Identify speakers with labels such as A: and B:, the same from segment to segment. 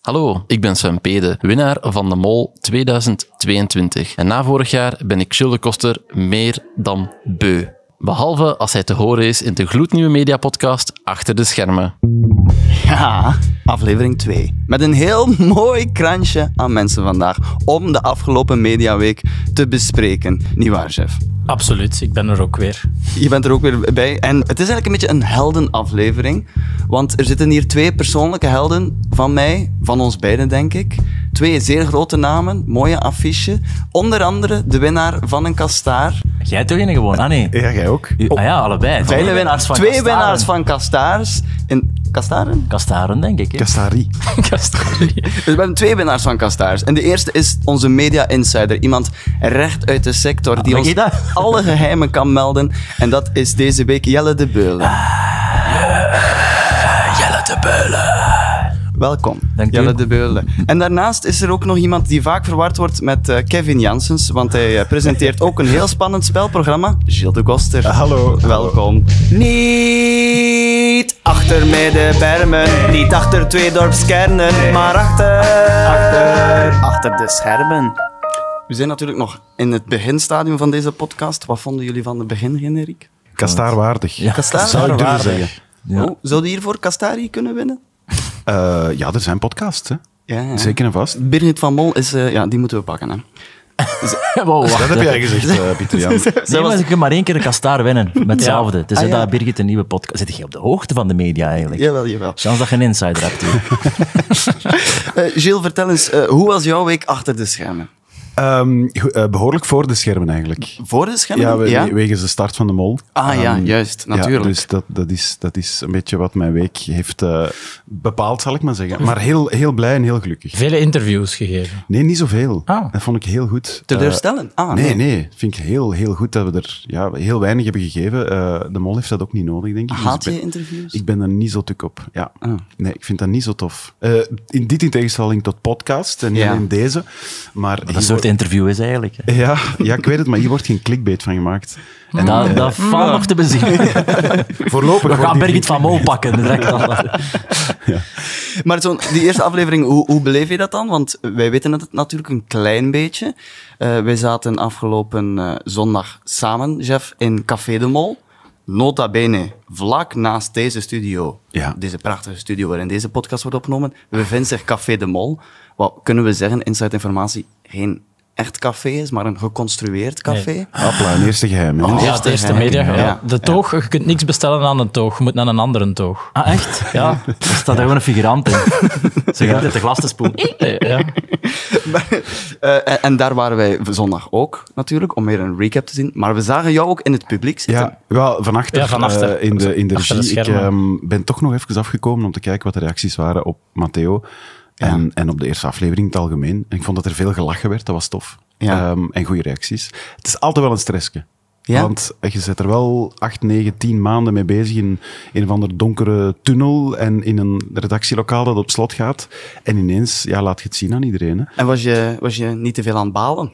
A: Hallo, ik ben Sven Pede, winnaar van de Mol 2022. En na vorig jaar ben ik Gilles de Koster meer dan beu. Behalve als hij te horen is in de gloednieuwe mediapodcast Achter de Schermen.
B: Ja, aflevering 2. Met een heel mooi kransje aan mensen vandaag om de afgelopen mediaweek te bespreken. Niet waar, chef?
C: Absoluut, ik ben er ook weer.
B: Je bent er ook weer bij. En het is eigenlijk een beetje een heldenaflevering. Want er zitten hier twee persoonlijke helden van mij, van ons beiden, denk ik. Twee zeer grote namen, mooie affiche. Onder andere de winnaar van een kastaar.
C: Jij toch in gewoon? Ah nee.
D: Ja, jij ook.
C: Ah ja, allebei. Twee
B: Twee winnaars van, Oh. twee winnaars van kastaars. In, kastaren?
C: Kastaren, denk ik. hè?
D: Kastari.
B: Dus we hebben twee winnaars van Kastaars. En de eerste is onze media insider. Iemand recht uit de sector die
C: Ah,
B: ons
C: weet je dat?
B: alle geheimen kan melden. En dat is deze week Jelle de Beulen. Jelle de Beulen. Welkom,
C: Dank u.
B: Jelle de Beulen. En daarnaast is er ook nog iemand die vaak verward wordt met eh, Kevin Janssens, want hij eh, presenteert ook een heel spannend spelprogramma. Gilles de Goster.
D: hallo.
B: Welkom.
E: Niet achter mij de bermen, niet achter twee dorpskernen, maar achter, achter, achter de schermen.
B: We zijn natuurlijk nog in het beginstadium van deze podcast. Wat vonden jullie van de begingeneriek?
D: Kastaarwaardig.
B: Kastaar?
D: Zou ik durven zeggen.
C: Ja.
B: Oh, zou die hiervoor Castari kunnen winnen?
D: Eh, ja, er zijn podcasts, hè.
B: Ja, ja.
D: Zeker en vast.
B: Birgit van Mol is... eh, ja, die moeten we pakken, hè.
C: Wow, wacht.
D: Dat heb jij gezegd, eh, Pieter Jan.
C: Nee, maar ze kunnen maar één keer de kastaar winnen. Met hetzelfde. Het is
B: Ah,
C: net
B: ja.
C: dat Birgit een nieuwe podcast... Zit je op de hoogte van de media eigenlijk?
B: Jawel, jawel.
C: Chance dat je een insider hebt. hier.
B: Eh Gilles, vertel eens, eh, hoe was jouw week achter de schermen?
D: Ehm, goed, eh, behoorlijk voor de schermen, eigenlijk.
B: Voor de schermen?
D: Ja, we- we- wegens de start van de mol.
B: Ah ja,
D: Ehm,
B: juist,
D: ja,
B: natuurlijk.
D: dus dat, dat, is, dat is een beetje wat mijn week heeft eh, bepaald, zal ik maar zeggen. Maar heel, heel blij en heel gelukkig.
F: Vele interviews gegeven.
D: Nee, niet zoveel.
F: Ah.
D: Dat vond ik heel goed.
B: Teleurstellend?
D: Eh,
B: Ah,
D: nee,
B: nee.
D: nee. Vind ik heel, heel goed dat we er ja, heel weinig hebben gegeven. Eh, de mol heeft dat ook niet nodig, denk ik. Dus
B: Haat
D: ik ben-
B: je interviews? Ah.
D: Ik ben er niet zo tuk op. Ja. Nee, ik vind dat niet zo tof. Eh, in dit in tegenstelling tot podcast en niet
B: Ja.
D: alleen deze. Maar
C: Wat
D: hier
C: een soort
D: wordt-
C: interview is eigenlijk. hè.
D: ja, ja, ik weet het, maar hier wordt geen clickbait van gemaakt. En
C: Dat, dat valt nog te bezien.
D: voorlopig.
C: We
D: wordt
C: gaan
D: die
C: Birgit van Mol pakken. direct al.
B: Maar zo'n die eerste aflevering, hoe, hoe beleef je dat dan? Want wij weten het natuurlijk een klein beetje. Eh, wij zaten afgelopen eh, zondag samen, Jeff, in Café de Mol. Nota bene, vlak naast deze studio,
D: Ja.
B: deze prachtige studio waarin deze podcast wordt opgenomen, bevindt zich Café de Mol. Wat kunnen we zeggen, inside informatie, geen echt café is, maar een geconstrueerd café.
D: Appla, een eerste geheim. hè.
F: Ja, het eerste media.
D: ja.
F: Ja. De toog, je kunt niks bestellen aan een toog, je moet naar een andere toog.
C: Ah, echt? Ja. Er staat daar gewoon een figurant in. Ze gaat uit de glas te spoelen.
F: Eh, Ja.
B: Eh, en, en daar waren wij zondag ook, natuurlijk, om weer een recap te zien. Maar we zagen jou ook in het publiek zitten.
D: Ja, wel, vanachter,
F: Ja, vanachter.
D: eh, in de, in de
F: Achter de
D: regie. ik
F: schermen.
D: ehm, ben toch nog even afgekomen om te kijken wat de reacties waren op Matteo. En, en op de eerste aflevering in het algemeen. En ik vond dat er veel gelachen werd, dat was tof.
B: Ja.
D: Ehm, en goede reacties. Het is altijd wel een stressje.
B: Ja?
D: Want eh, je zit er wel acht, negen, tien maanden mee bezig in een of ander donkere tunnel en in een redactielokaal dat op slot gaat. En ineens ja, laat je het zien aan iedereen. Hè.
B: En was je, was je niet te veel aan het balen?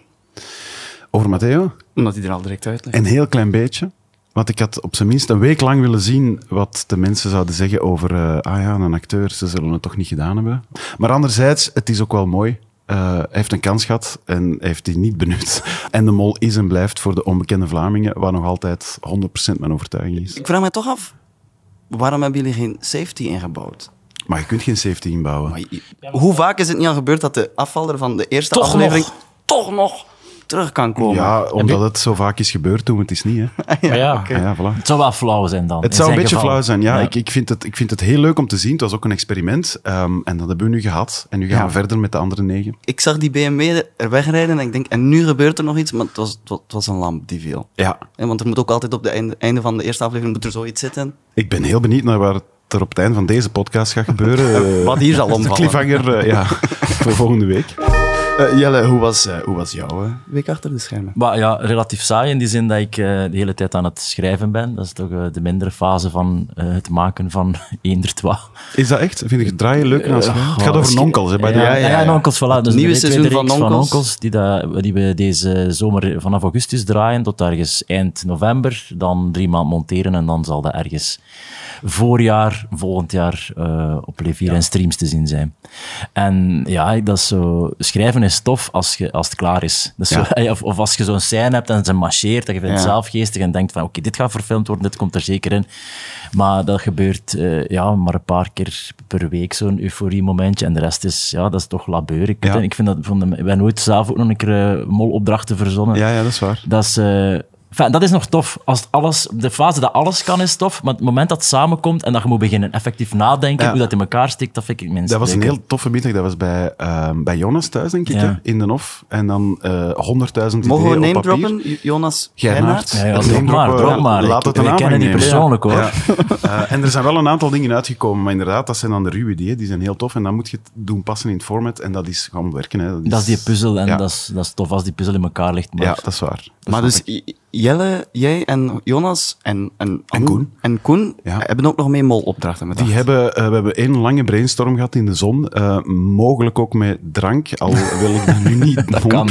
D: Over Matteo?
B: Omdat hij er al direct uit ligt.
D: Een heel klein beetje. Want ik had op zijn minst een week lang willen zien wat de mensen zouden zeggen over... eh, ah ja, een acteur, ze zullen het toch niet gedaan hebben. Maar anderzijds, het is ook wel mooi. Eh, hij heeft een kans gehad en hij heeft die niet benut. En de mol is en blijft voor de onbekende Vlamingen, waar nog altijd 100% mijn overtuiging is.
B: Ik vraag me toch af, waarom hebben jullie geen safety ingebouwd?
D: Maar je kunt geen safety inbouwen.
B: Hoe vaak is het niet al gebeurd dat de afvaller van de eerste
F: Toch
B: aflevering
F: nog.
B: toch nog terug kan komen?
D: Ja, omdat het zo vaak is gebeurd, doen we het is niet. Hè.
F: Maar ja,
D: Ah ja, voilà.
C: Het zou wel flauw zijn dan.
D: Het
C: in
D: zou een
C: zijn
D: beetje
C: geval.
D: flauw zijn, ja.
C: Ja.
D: Ik, ik, vind het, ik vind het heel leuk om te zien. Het was ook een experiment. ehm, en dat hebben we nu gehad. En nu gaan we verder met de andere negen.
B: Ik zag die BMW er wegrijden en ik denk, en nu gebeurt er nog iets, maar het was, het was, het was een lamp die viel.
D: Ja,
B: En want er moet ook altijd op het einde, einde van de eerste aflevering moet er zoiets zitten.
D: ik ben heel benieuwd naar waar het er op het einde van deze podcast gaat gebeuren. Eh,
B: Wat hier zal
D: de
B: omvallen.
D: cliffhanger eh, ja, voor volgende week.
B: Eh, Jelle, hoe was, eh, hoe was jouw eh, week achter de schermen?
C: Maar ja, relatief saai in die zin dat ik eh, de hele tijd aan het schrijven ben. Dat is toch eh, de mindere fase van eh, het maken van eender twa.
D: Is dat echt? Vind ik het draaien leuk? en als- het gaat over nonkels, hè, bij de...
C: ja, ja, ja,
B: Oh, ja.
C: en Onkels, voilà. Dus
B: nieuwe
C: de tweede
B: seizoen van
C: reeks
B: Onkels.
C: die, dat- die we deze eh, zomer vanaf augustus draaien tot ergens eind november. Dan drie maand monteren en dan zal dat ergens voorjaar, volgend jaar eh, op Levier en streams te zien zijn. En ja, dat is zo, schrijven is tof als, je, als het klaar is. Dat is zo- of, of als je zo'n scène hebt en ze marcheert, dat je vindt het zelf geestig en denkt van oké, dit gaat verfilmd worden, dit komt er zeker in. Maar dat gebeurt eh, ja, maar een paar keer per week, zo'n euforie-momentje. En de rest is, ja, dat is toch labeur. Ik, weet
D: Ja.
C: het, ik vind dat, van de, wij hebben ooit zelf ook nog een keer eh, molopdrachten verzonnen.
D: Ja, ja, dat is waar.
C: Dat is, eh, enfin, dat is nog tof. Als het alles, de fase dat alles kan is tof, maar het moment dat het samenkomt en dat je moet beginnen effectief nadenken
D: Ja.
C: hoe dat in elkaar steekt, dat vind ik minstens
D: Dat was een
C: leuk.
D: heel toffe middag. Dat was bij, ehm, bij Jonas thuis, denk ik,
C: Ja.
D: hè, in de Hof. En dan eh, honderdduizend
B: Mogen we
D: ideeën
B: name
D: op papier.
B: droppen? J- Jonas
D: Gernaert.
B: Gernaert?
C: Ja, ja,
D: Name
C: drop maar,
D: droppen,
C: drop maar.
D: Laat het
C: Ik-
D: een
C: wij kennen die
D: aannemen.
C: persoonlijk, hoor.
D: Ja. Eh, en er zijn wel een aantal dingen uitgekomen, maar inderdaad, dat zijn dan de ruwe ideeën. Die zijn heel tof en dan moet je het doen passen in het format. En dat is gewoon werken. Hè.
C: Dat is die puzzel en
D: Ja.
C: dat, is, dat is tof als die puzzel in elkaar ligt. Maar
D: Ja, dat is waar. Dat
B: Maar
D: snap
B: dus
D: ik.
B: J- Jelle, jij en Jonas en, en, Anne
D: Koen.
B: en Koen
D: Ja.
B: hebben ook nog mee molopdrachten met
D: Die hebben, eh, we hebben één lange brainstorm gehad in de zon. eh, mogelijk ook met drank, al wil ik daar nu niet 100%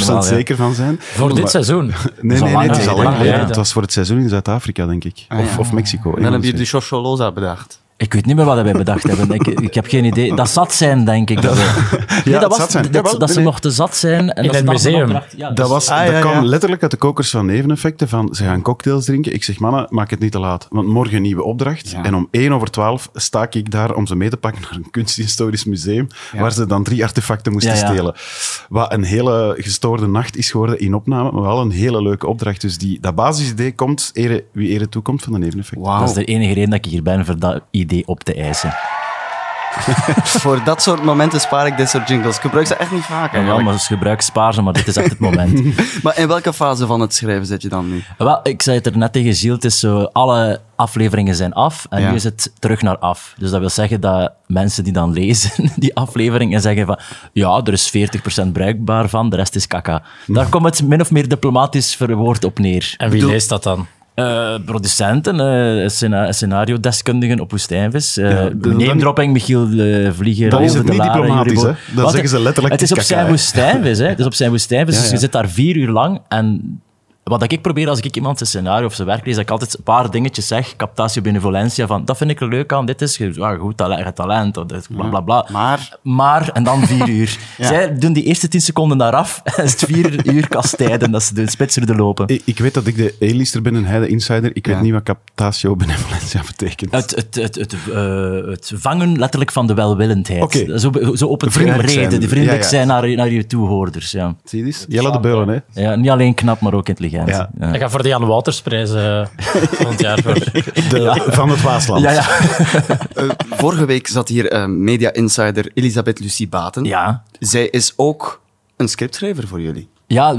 C: wel, ja.
D: zeker van zijn.
F: Voor dit
D: Maar-
F: seizoen.
D: Nee,
C: al
D: nee, nee,
C: lang
D: het is al
C: geleden.
D: lang geleden.
F: Ja.
D: Het was voor het seizoen in Zuid-Afrika, denk ik.
B: Ah,
D: Of,
B: ja.
D: of Mexico.
B: Dan
C: dus
B: heb je de Shosholoza bedacht.
C: Ik weet niet meer wat wij bedacht hebben. Ik, ik heb geen idee. Dat zat zijn, denk ik. Dat, we- nee,
D: het
C: dat was
D: zat zijn.
C: dat,
D: Jawel,
C: dat ze
D: nee, nee.
C: mochten zat zijn. En dat
F: In
C: ze
F: het
C: dan
F: museum.
C: een opdracht- ja, dus
D: Dat, was,
B: Ah,
D: dat
B: ja,
D: kwam
B: ja.
D: letterlijk uit de kokers van neveneffecten van ze gaan cocktails drinken. Ik zeg, mannen, maak het niet te laat, want morgen een nieuwe opdracht. En om 1 over 12 staak ik daar om ze mee te pakken naar een kunsthistorisch museum, waar ze dan drie artefacten moesten
C: Ja, ja.
D: stelen. Wat een hele gestoorde nacht is geworden in opname, maar wel een hele leuke opdracht. Dus die, dat basisidee komt, ere, wie ere toekomt, van de neveneffecten.
C: Dat is de enige reden dat ik hier ben, voor dat idee op te eisen.
B: Voor dat soort momenten spaar ik dit soort jingles. Ik gebruik ze echt niet vaak.
C: En wel,
B: eigenlijk.
C: maar dus gebruik spaar ze, maar dit is echt het moment.
B: Maar in welke fase van het schrijven zit je dan nu?
C: Wel, ik zei het er net tegen Gilles, het is zo, alle afleveringen zijn af en
B: Ja.
C: nu is het terug naar af. Dus dat wil zeggen dat mensen die dan lezen die aflevering en zeggen van ja, er is 40% bruikbaar van, de rest is kaka. Daar komt het min of meer diplomatisch verwoord op neer.
F: En wie leest dat dan?
C: Eh, producenten, eh, scena- scenario-deskundigen op Woestijnvis. eh
D: de-
C: neemdropping, Michiel eh, Vlieger.
D: Dan is het
C: Rolf de
D: niet
C: Laren,
D: diplomatisch,
C: Jurie Bo-
D: hè? Dan
C: Wat?
D: zeggen ze letterlijk
C: Het is
D: het
C: op
D: is
C: zijn
D: kaka, hè?
C: Woestijnvis, hè? Het is op zijn Woestijnvis, dus
D: ja.
C: je zit daar vier uur lang en... Wat ik probeer als ik iemand zijn scenario of zijn werk lees, dat ik altijd een paar dingetjes zeg, captatio benevolentia, van dat vind ik er leuk aan, dit is ge- ja, goed talent, talent of dit, bla bla bla.
B: Maar-
C: Maar, en dan vier uur. Zij doen die eerste tien seconden daar af en is het vier uur kastijden dat ze de spitsuur lopen.
D: Ik, ik weet dat ik de A-lister ben en hij de insider. Ik
B: Ja.
D: weet niet wat captatio benevolentia betekent.
C: Het, het, het, het, eh, het vangen letterlijk van de welwillendheid.
D: Oké.
C: Zo, zo op het
D: Vriendelijk
C: reden,
D: zijn.
C: de vriendelijk
D: Ja, ja.
C: zijn naar, je- naar je toehoorders. Ja.
D: Zie je dit? Jelle de Beulen, hè?
C: Ja, niet alleen knap, maar ook intelligent.
D: Ja.
C: Ja, ja.
F: Ik ga voor de Jan Woutersprijs eh volgend jaar voor.
D: De- Van het Waasland.
C: ja, ja.
B: Eh, vorige week zat hier eh, media insider Elisabeth Lucie Baten.
C: ja.
B: Zij is ook een scriptschrijver voor jullie.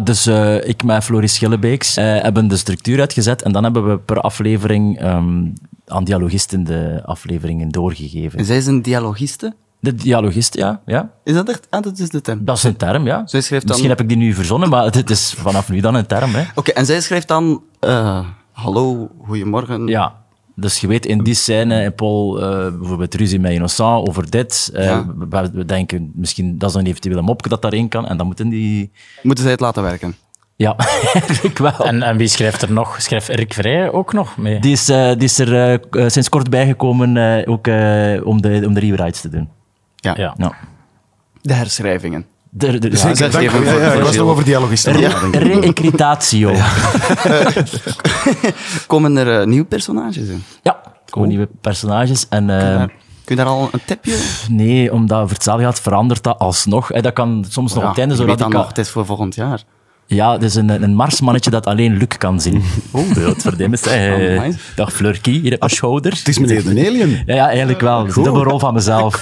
C: dus eh, ik met Floris Schillebeeks eh, hebben de structuur uitgezet en dan hebben we per aflevering ehm, aan dialogisten de afleveringen doorgegeven.
B: En zij is een dialogiste.
C: De dialogist, ja. ja.
B: Is dat echt? Ah, dat is de term.
C: Dat is een term, ja.
B: Zij schrijft dan-
C: Misschien heb ik die nu verzonnen, maar het is vanaf nu dan een term, hè.
B: Oké, en zij schrijft dan... eh, Hallo, goedemorgen.
C: Ja. Dus je weet, in die scène, in Paul, eh, bijvoorbeeld ruzie met Innocent over dit. eh,
B: Ja.
C: we, we denken, misschien dat is een eventuele mopje dat daarin kan. En dan moeten die...
B: Moeten zij het laten werken?
C: Ja, eigenlijk wel.
F: En, en wie schrijft er nog? Schrijft Erik Vrij ook nog mee?
C: Die is, eh, die is er eh, k- eh, sinds kort bijgekomen eh, ook, eh, om de, om de rewrites te doen.
B: Ja.
F: Ja.
C: Ja.
B: De herschrijvingen.
C: De, de,
B: Zeker.
C: ja,
B: Ah, Zeg
D: Dank
B: even
D: u. Ja,
B: voor-
D: ja,
B: voor
D: ik was
B: Gilles.
D: nog over dialogisten. aan het
C: re-
D: nadenken.
C: Recritatio. Ja,
B: Komen er eh, nieuwe personages in?
C: Gewoon nieuwe personages. En, eh,
D: Ehm.
B: Eh, kun je daar al een tipje?
C: nee, omdat voor hetzelfde geld verandert dat alsnog. Eh, dat kan soms nog op het einde zo
B: je weet dan
C: radicaal-
B: nog, het is voor volgend jaar.
C: Ja, het is een, een marsmannetje dat alleen Luc kan zien. Oh, dat verdienen
B: Oh,
C: ze.
B: amai.
C: Dag Flurky, hier heb je schouder.
D: Ah, Het is meneer de Alien.
C: Ja, ja, eigenlijk wel. Dat is een dubbele rol van mezelf.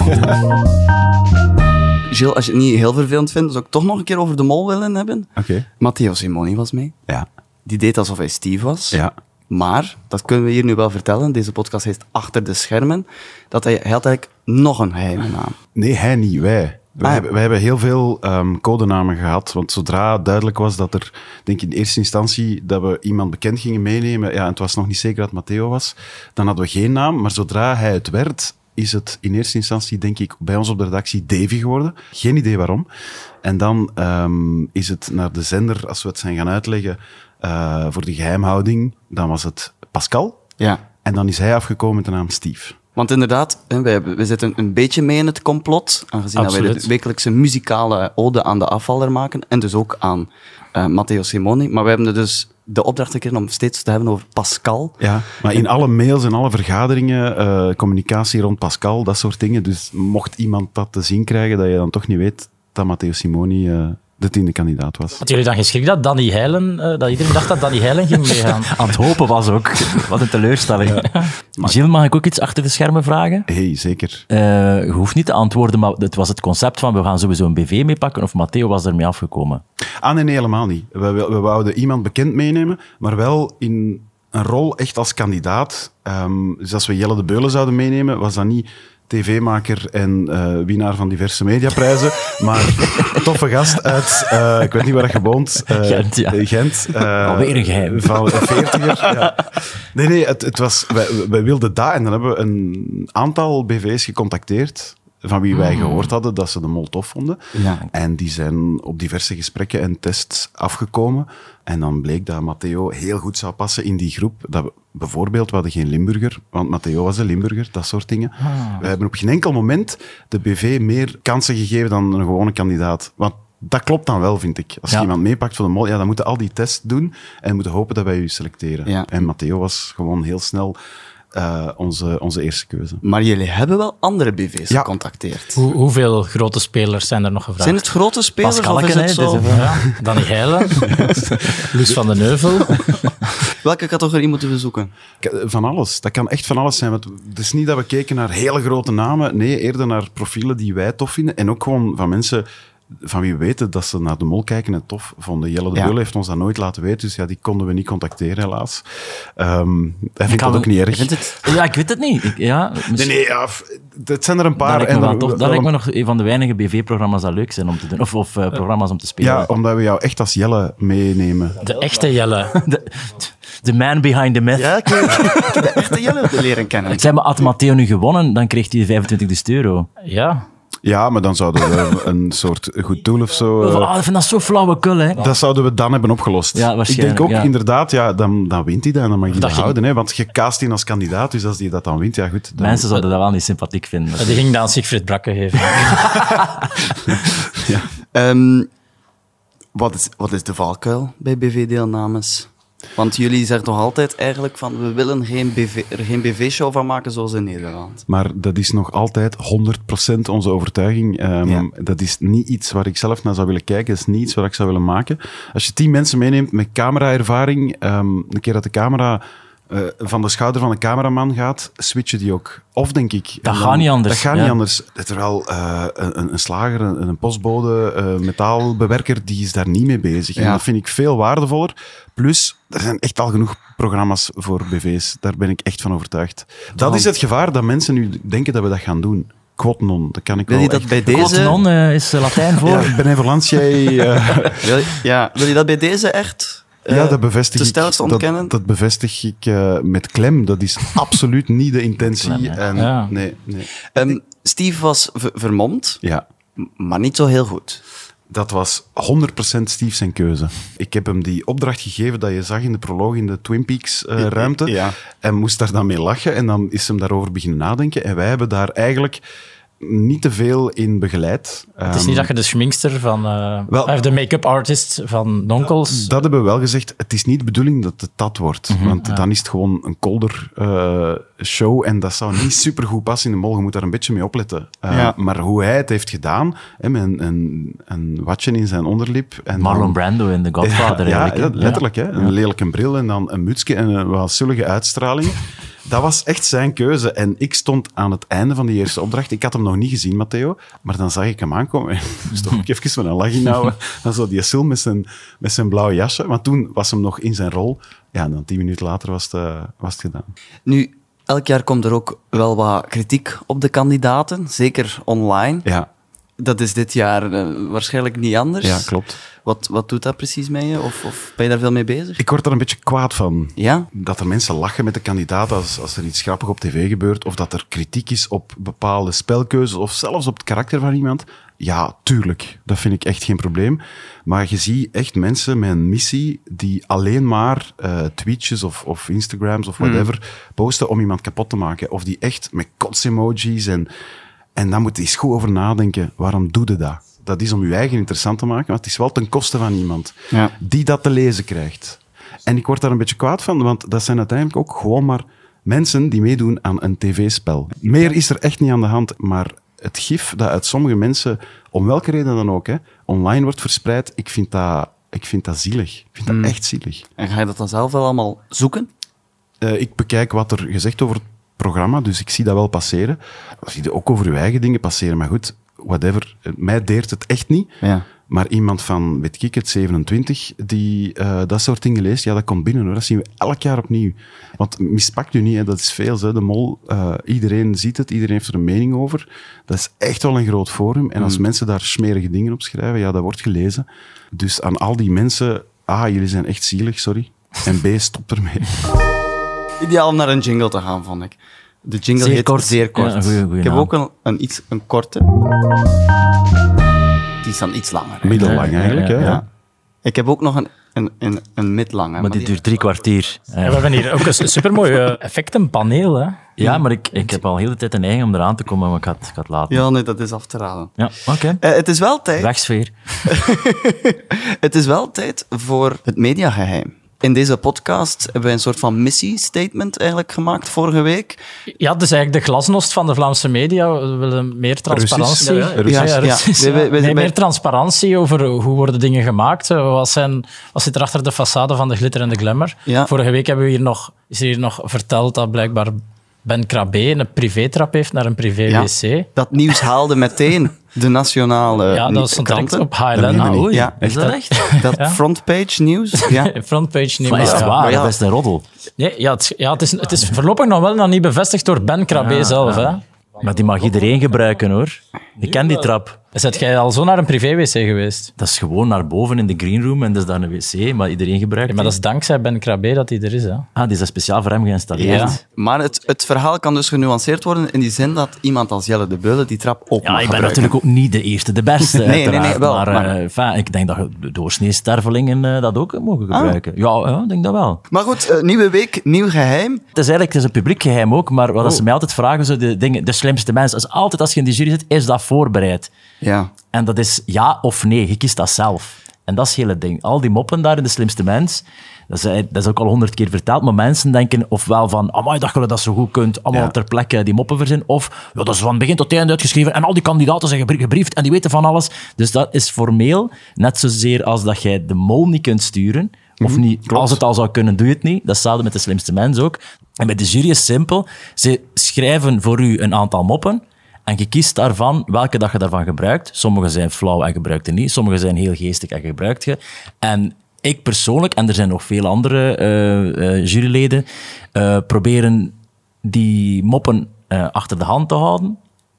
B: Gilles, als je het niet heel vervelend vindt, zou ik toch nog een keer over de mol willen hebben.
D: Oké.
B: Matteo Simoni was mee.
D: Ja.
B: Die deed alsof hij Steve was.
D: Ja.
B: Maar, dat kunnen we hier nu wel vertellen, deze podcast heet Achter de Schermen, dat hij, hij had eigenlijk nog een geheime naam.
D: Nee, hij niet, wij. Wij, hebben- wij hebben heel veel ehm, codenamen gehad, want zodra duidelijk was dat er, denk ik in eerste instantie, dat we iemand bekend gingen meenemen, ja, en het was nog niet zeker dat Matteo was, dan hadden we geen naam, maar zodra hij het werd, is het in eerste instantie, denk ik, bij ons op de redactie Davy geworden. Geen idee waarom. En dan ehm, is het naar de zender, als we het zijn gaan uitleggen, eh, voor de geheimhouding, dan was het Pascal.
B: Ja.
D: En dan is hij afgekomen met de naam Steve.
B: Want inderdaad, hè, wij, hebben- wij zitten een beetje mee in het complot, aangezien dat wij de
F: Absoluut.
B: wekelijkse muzikale ode aan de afvaller maken, en dus ook aan eh, Matteo Simoni. Maar wij hebben dus de opdracht gekregen om steeds te hebben over Pascal.
D: Ja, maar in alle mails en alle vergaderingen, eh, communicatie rond Pascal, dat soort dingen. Dus mocht iemand dat te zien krijgen, dat je dan toch niet weet dat Matteo Simoni eh, de tiende kandidaat was.
F: Had jullie dan geschrikt dat Danny Heilen, eh, dat iedereen dacht dat Danny Heilen ging meegaan?
C: Aan het hopen was ook. Wat een teleurstelling. Gilles, mag ik ook iets achter de schermen vragen?
D: hey, zeker.
C: Eh, je hoeft niet te antwoorden, maar het was het concept van we gaan sowieso een BV meepakken of Matteo was ermee afgekomen.
D: Ah, nee, nee, helemaal niet. We, we, we wouden iemand bekend meenemen, maar wel in een rol echt als kandidaat. Ehm, dus als we Jelle de Beulen zouden meenemen, was dat niet tv-maker en eh, winnaar van diverse mediaprijzen, maar toffe gast uit, eh, ik weet niet waar je woont, eh,
C: Gent, ja.
D: Gent eh,
C: Alweer een geheim.
D: Van een veertiger, ja. Nee, nee, het, het was, wij, wij wilden dat en dan hebben we een aantal BV's gecontacteerd van wie wij gehoord hadden dat ze de mol tof vonden.
B: Hmm. Ja.
D: En die zijn op diverse gesprekken en tests afgekomen. En dan bleek dat Matteo heel goed zou passen in die groep. Dat we, bijvoorbeeld, we hadden geen Limburger, want Matteo was een Limburger, dat soort dingen.
B: Ah.
D: We hebben op geen enkel moment de BV meer kansen gegeven dan een gewone kandidaat. Want dat klopt dan wel, vind ik. Als je
C: Ja.
D: iemand meepakt voor de mol, ja, dan moeten al die tests doen en moeten hopen dat wij u selecteren.
B: Ja.
D: En Matteo was gewoon heel snel eh, onze, onze eerste keuze.
B: Maar jullie hebben wel andere BV's
D: Ja.
B: gecontacteerd.
F: Hoe, hoeveel grote spelers zijn er nog gevraagd?
B: Zijn het grote spelers of is
C: Pascalken,
B: het
C: hè,
B: zo?
C: dus, eh,
F: ja, Danny Heilen, Loes van den Neuvel.
B: Welke categorie moeten we zoeken?
D: K- eh, Van alles. Dat kan echt van alles zijn. Want het is niet dat we keken naar hele grote namen. Nee, eerder naar profielen die wij tof vinden. En ook gewoon van mensen van wie we weten dat ze naar de mol kijken en het tof vonden. Jelle de
B: Ja.
D: Beul heeft ons dat nooit laten weten. Dus ja, die konden we niet contacteren, helaas. Ehm hij vindt
C: Kan-
D: dat ook niet erg.
C: Vindt het- Ja, ik weet het niet. Ik- ja, misschien-
D: Nee, nee, ja, f- het zijn er een
C: Dat
D: paar.
C: lijkt, me
D: en
C: wel
D: er-
C: tof. dat
D: wel
C: lijkt me
D: een-
C: nog een van de weinige BV-programma's dat leuk zijn om te doen. Of, of eh, programma's om te spelen.
D: Ja, omdat we jou echt als Jelle meenemen.
F: De echte Jelle.
C: De, de man behind the myth.
B: Ja, ik heb de echte Jelle leren kennen.
C: Zeg maar, had Matteo nu gewonnen, dan kreeg hij 25.000 euro.
F: Ja.
D: Ja, maar dan zouden we een soort goed doel of zo... eh,
C: Oh, ik vind dat zo flauwekul, hè.
D: Dat zouden we dan hebben opgelost.
C: Ah. Ja, waarschijnlijk,
D: Ik denk ook
C: ja.
D: inderdaad, ja, dan, dan wint hij dat en dan mag je dat,
F: ging-
D: houden. Hè, want je cast in als kandidaat, dus als hij dat dan wint, ja goed. Dan,
C: Mensen zouden dat wel niet sympathiek vinden.
F: Die ging dan Siegfried Brakke geven.
B: Ehm, wat, is, wat is de valkuil bij BV-deelnames? Want jullie zeggen toch altijd eigenlijk van we willen geen BV, er geen BV-show van maken zoals in Nederland.
D: Maar dat is nog altijd 100% onze overtuiging. Ehm,
B: Ja.
D: Dat is niet iets waar ik zelf naar zou willen kijken. Dat is niet iets waar ik zou willen maken. Als je tien mensen meeneemt met cameraervaring, ehm een keer dat de camera eh, van de schouder van de cameraman gaat, switchen die ook. Of denk ik. en
C: gaat niet anders,
D: Dat gaat niet
C: ja.
D: anders. Terwijl eh een, een slager, een, een postbode, eh, metaalbewerker, die is daar niet mee bezig. En
B: Ja.
D: dat vind ik veel waardevoller. Plus, er zijn echt al genoeg programma's voor BV's. Daar ben ik echt van overtuigd. Dat is het gevaar dat mensen nu denken dat we dat gaan doen. Quod non, dat kan ik
B: Wil
D: wel
B: je dat
D: echt- Oh,
B: bij
C: Deze...
B: deze...
C: is eh, Latijn voor.
D: Ja, benevolantiae, eh,
B: Wil, ja, wil je dat bij deze echt? eh,
D: ja, dat bevestig
B: te
D: ik.
B: stellig te
D: Dat-
B: ontkennen?
D: Dat, bevestig ik eh, met klem. Dat is absoluut niet de intentie.
C: klem, hè.
D: en,
F: Ja.
D: Nee, nee.
B: Ehm, Steve was ver- vermomd,
D: Ja,
B: m- maar niet zo heel goed.
D: Dat was 100% Steve zijn keuze. Ik heb hem die opdracht gegeven dat je zag in de proloog in de Twin Peaks eh, ruimte.
B: ja.
D: En moest daar dan mee lachen. En dan is hem daarover beginnen nadenken. En wij hebben daar eigenlijk niet te veel in begeleid. Ehm,
F: Het is niet dat je de schminkster van... eh,
D: Wel-
F: of de make-up artist van Donkels...
D: Dat hebben we wel gezegd. Het is niet de bedoeling dat het dat wordt.
F: Mhm.
D: want dan is het gewoon een kolder eh, show. En dat zou niet supergoed passen in de mol. Je moet daar een beetje mee opletten. Eh,
B: Ja.
D: Maar hoe hij het heeft gedaan, hè, met een, een, een watje in zijn onderlip. En
C: Marlon
D: dan-
C: Brando in The Godfather.
D: ja,
C: eigenlijk, hè.
D: ja, letterlijk. Hè? Een lelijke bril en dan een mutsje en een wat zullige uitstraling. Dat was echt zijn keuze. En ik stond aan het einde van die eerste opdracht. Ik had hem nog niet gezien, Matteo. Maar dan zag ik hem aankomen. Dus toch ik even met een lach inhouden. Dan zo die Sil met zijn, met zijn blauwe jasje. Maar toen was hem nog in zijn rol. Ja, en dan tien minuten later was het, eh, was het gedaan.
B: Nu, elk jaar komt er ook wel wat kritiek op de kandidaten, zeker online.
D: Ja.
B: dat is dit jaar eh, waarschijnlijk niet anders.
A: Ja, klopt.
B: Wat, wat doet dat precies met je? Of, of ben je daar veel mee bezig?
D: Ik word er een beetje kwaad van.
B: Ja?
D: Dat er mensen lachen met de kandidaat als, als er iets grappig op tv gebeurt, of dat er kritiek is op bepaalde spelkeuzes, of zelfs op het karakter van iemand. Ja, tuurlijk. Dat vind ik echt geen probleem. Maar je ziet echt mensen met een missie die alleen maar eh tweetjes of, of Instagrams of whatever posten om iemand kapot te maken. Of die echt met kots-emojis en... En daar moet je eens goed over nadenken. Waarom doe je dat? Dat is om je eigen interessant te maken, maar het is wel ten koste van iemand
B: Ja.
D: die dat te lezen krijgt. En ik word daar een beetje kwaad van, want dat zijn uiteindelijk ook gewoon maar mensen die meedoen aan een tv-spel. Meer is er echt niet aan de hand, maar het gif dat uit sommige mensen, om welke reden dan ook, hè, online wordt verspreid, ik vind dat, ik vind dat zielig. Ik vind dat echt zielig.
B: En ga je dat dan zelf wel allemaal zoeken?
D: Eh, ik bekijk wat er gezegd over het programma, dus ik zie dat wel passeren. Dat zie je ook over je eigen dingen passeren, maar goed, whatever. Eh, Mij deert het echt niet.
B: Ja.
D: Maar iemand van, weet ik het, 27, die eh, dat soort dingen leest, ja, dat komt binnen hoor. Dat zien we elk jaar opnieuw. Want mispakt u niet, hè, dat is veel. Hè. De mol, eh, iedereen ziet het, iedereen heeft er een mening over. Dat is echt wel een groot forum. En als mensen daar smerige dingen op schrijven, ja, dat wordt gelezen. Dus aan al die mensen, A, jullie zijn echt zielig, sorry. En B, stop ermee.
B: Ideaal om naar een jingle te gaan, vond ik. De jingle
C: Zeer
B: heet
C: kort.
B: Zeer Kort.
C: Ja, een goeie- goeie
B: ik heb
C: naam.
B: ook een, een, iets, een korte. Die is dan iets langer. hè.
D: Middellang eigenlijk, hè.
C: Ja.
B: Ik heb ook nog een, een, een, een midlange.
C: Maar dit duurt drie kwartier. Eh,
F: Ja, we hebben hier ook een supermooi eh, effectenpaneel. Hè.
C: Ja, maar ik, ik heb al heel de tijd de neiging om eraan te komen, maar ik had, ik had laten. Ja,
B: Ja, nee, dat is af te raden.
C: oké.
B: Eh, het is wel tijd.
C: Wegsfeer.
B: Het is wel tijd voor het mediageheim. In deze podcast hebben wij een soort van missiestatement eigenlijk gemaakt vorige week.
F: Ja, dus eigenlijk de glasnost van de Vlaamse media. We willen meer transparantie.
D: Russisch. Ja, ja, Russisch.
F: Russisch,
B: Ja, we- we- we
F: Nee,
B: zijn bij-
F: meer transparantie over hoe worden dingen gemaakt. eh, Wat, zijn, wat zit er achter de façade van de glitter en de glamour?
B: Ja.
F: Vorige week hebben we hier nog, is hier nog verteld dat blijkbaar Ben Krabbe een privétrap heeft naar een privé-wc. Ja.
B: Dat nieuws haalde meteen de nationale
F: dat stond direct
B: kranten.
F: op
D: Dat
F: Highland.
D: meen je niet.
F: Ah, oei.
B: Ja.
C: Is dat echt?
B: Dat frontpage nieuws. Ja.
F: Frontpage niet
C: Maar is
F: meer.
C: het
F: Ja.
C: waar?
B: maar ja.
C: Dat is een roddel.
F: Nee, ja, het, ja, het, is, het is voorlopig nog wel nog niet bevestigd door Ben Krabbe zelf. Hè?
C: Maar die mag iedereen gebruiken, hoor. Ik ken die trap.
F: Zet jij al zo naar een privé-wc geweest?
C: Dat is gewoon naar boven in de greenroom en dat is daar een wc, maar iedereen gebruikt
F: Ja, maar dat is dankzij Ben Krabbe dat hij er is. Hè?
C: Ah, die is daar speciaal voor hem geïnstalleerd.
F: Ja.
B: Maar het, het verhaal kan dus genuanceerd worden in die zin dat iemand als Jelle de Beulen die trap op
C: Ja,
B: mag
C: ik ben
B: gebruiken.
C: natuurlijk ook niet de eerste, de beste.
B: nee, nee,
C: uiteraard,
B: wel,
C: Maar,
B: maar-
C: eh, enfin, ik denk dat de doorsneestervelingen eh, dat ook mogen
B: Ah.
C: gebruiken. Ja, ja, ik denk dat wel.
B: Maar goed, eh, nieuwe week, nieuw geheim.
C: Het is eigenlijk het is een publiek geheim ook, maar wat
B: Oh.
C: ze mij altijd vragen, zo de, dingen, de slimste mensen, is altijd als je in de jury zit, is dat voorbereid?
B: Ja.
C: En dat is ja of nee, je kiest dat zelf. En dat is het hele ding. Al die moppen daar in de slimste mens, dat is, dat is ook al honderd keer verteld, maar mensen denken ofwel van, amai, dat je dat zo goed kunt, allemaal
D: Ja.
C: ter plekke die moppen verzinnen, of ja, dat is van begin tot eind uitgeschreven en al die kandidaten zijn gebrie- gebriefd en die weten van alles. Dus dat is formeel net zozeer als dat jij de mol niet kunt sturen, of niet, als het al zou kunnen, doe je het niet. Dat is hetzelfde met de slimste mens ook. En bij de jury is simpel, ze schrijven voor u een aantal moppen, en je kiest daarvan welke dag je daarvan gebruikt. Sommige zijn flauw en gebruikt je niet. Sommige zijn heel geestig en gebruikt je. En ik persoonlijk, en er zijn nog veel andere eh, eh, juryleden, eh, proberen die moppen eh, achter de hand te houden.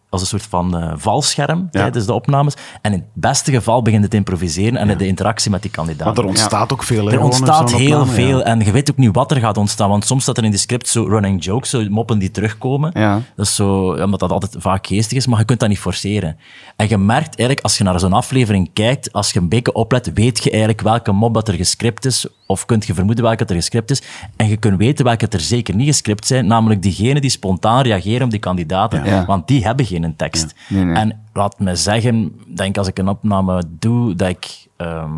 C: Als een soort van eh, valscherm tijdens de opnames. En in het beste geval begint het te improviseren en de interactie met die kandidaat.
D: Want er ontstaat ook veel. hè,
C: Er
D: gewoon in
C: ontstaat
D: zo'n
C: heel
D: opname, ja.
C: veel en je weet ook niet wat er gaat ontstaan, want soms staat er in de script zo running jokes, zo moppen die terugkomen.
B: Ja.
C: Dat is zo, ja, omdat dat altijd vaak geestig is, maar je kunt dat niet forceren. En je merkt eigenlijk, als je naar zo'n aflevering kijkt, als je een beetje oplet, weet je eigenlijk welke mop dat er gescript is, of kunt je vermoeden welke dat er gescript is, en je kunt weten welke dat er zeker niet gescript zijn, namelijk diegenen die spontaan reageren op die kandidaten,
B: Ja.
C: want die hebben geen tekst.
B: Nee, nee.
C: En laat me zeggen, denk als ik een opname doe, dat ik... ehm,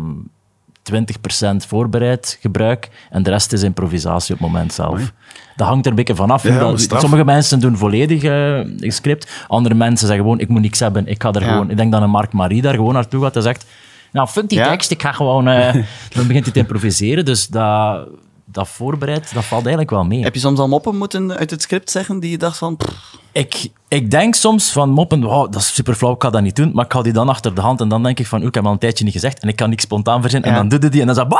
C: 20% voorbereid gebruik en de rest is improvisatie op het moment zelf. Dat hangt er een beetje vanaf.
D: Ja,
C: Dat-
D: maar straf.
C: sommige mensen doen volledig eh, een script, andere mensen zeggen gewoon, ik moet niks hebben, ik ga er
B: Ja.
C: gewoon... Ik denk dat een Mark Marie daar gewoon naartoe gaat en zegt, nou, fuck die
B: Ja.
C: tekst, ik ga gewoon... eh," dan begint hij te improviseren, dus dat, dat voorbereid, dat valt eigenlijk wel mee.
B: Heb je soms al moppen moeten uit het script zeggen die je dacht van... pff,
C: Ik, ik denk soms van moppen, wow, dat is super flauw, ik ga dat niet doen. Maar ik ga die dan achter de hand en dan denk ik van, oeh, ik heb al een tijdje niet gezegd en ik kan niks spontaan verzinnen. En
B: Ja.
C: dan doe je die en dan zeg ik,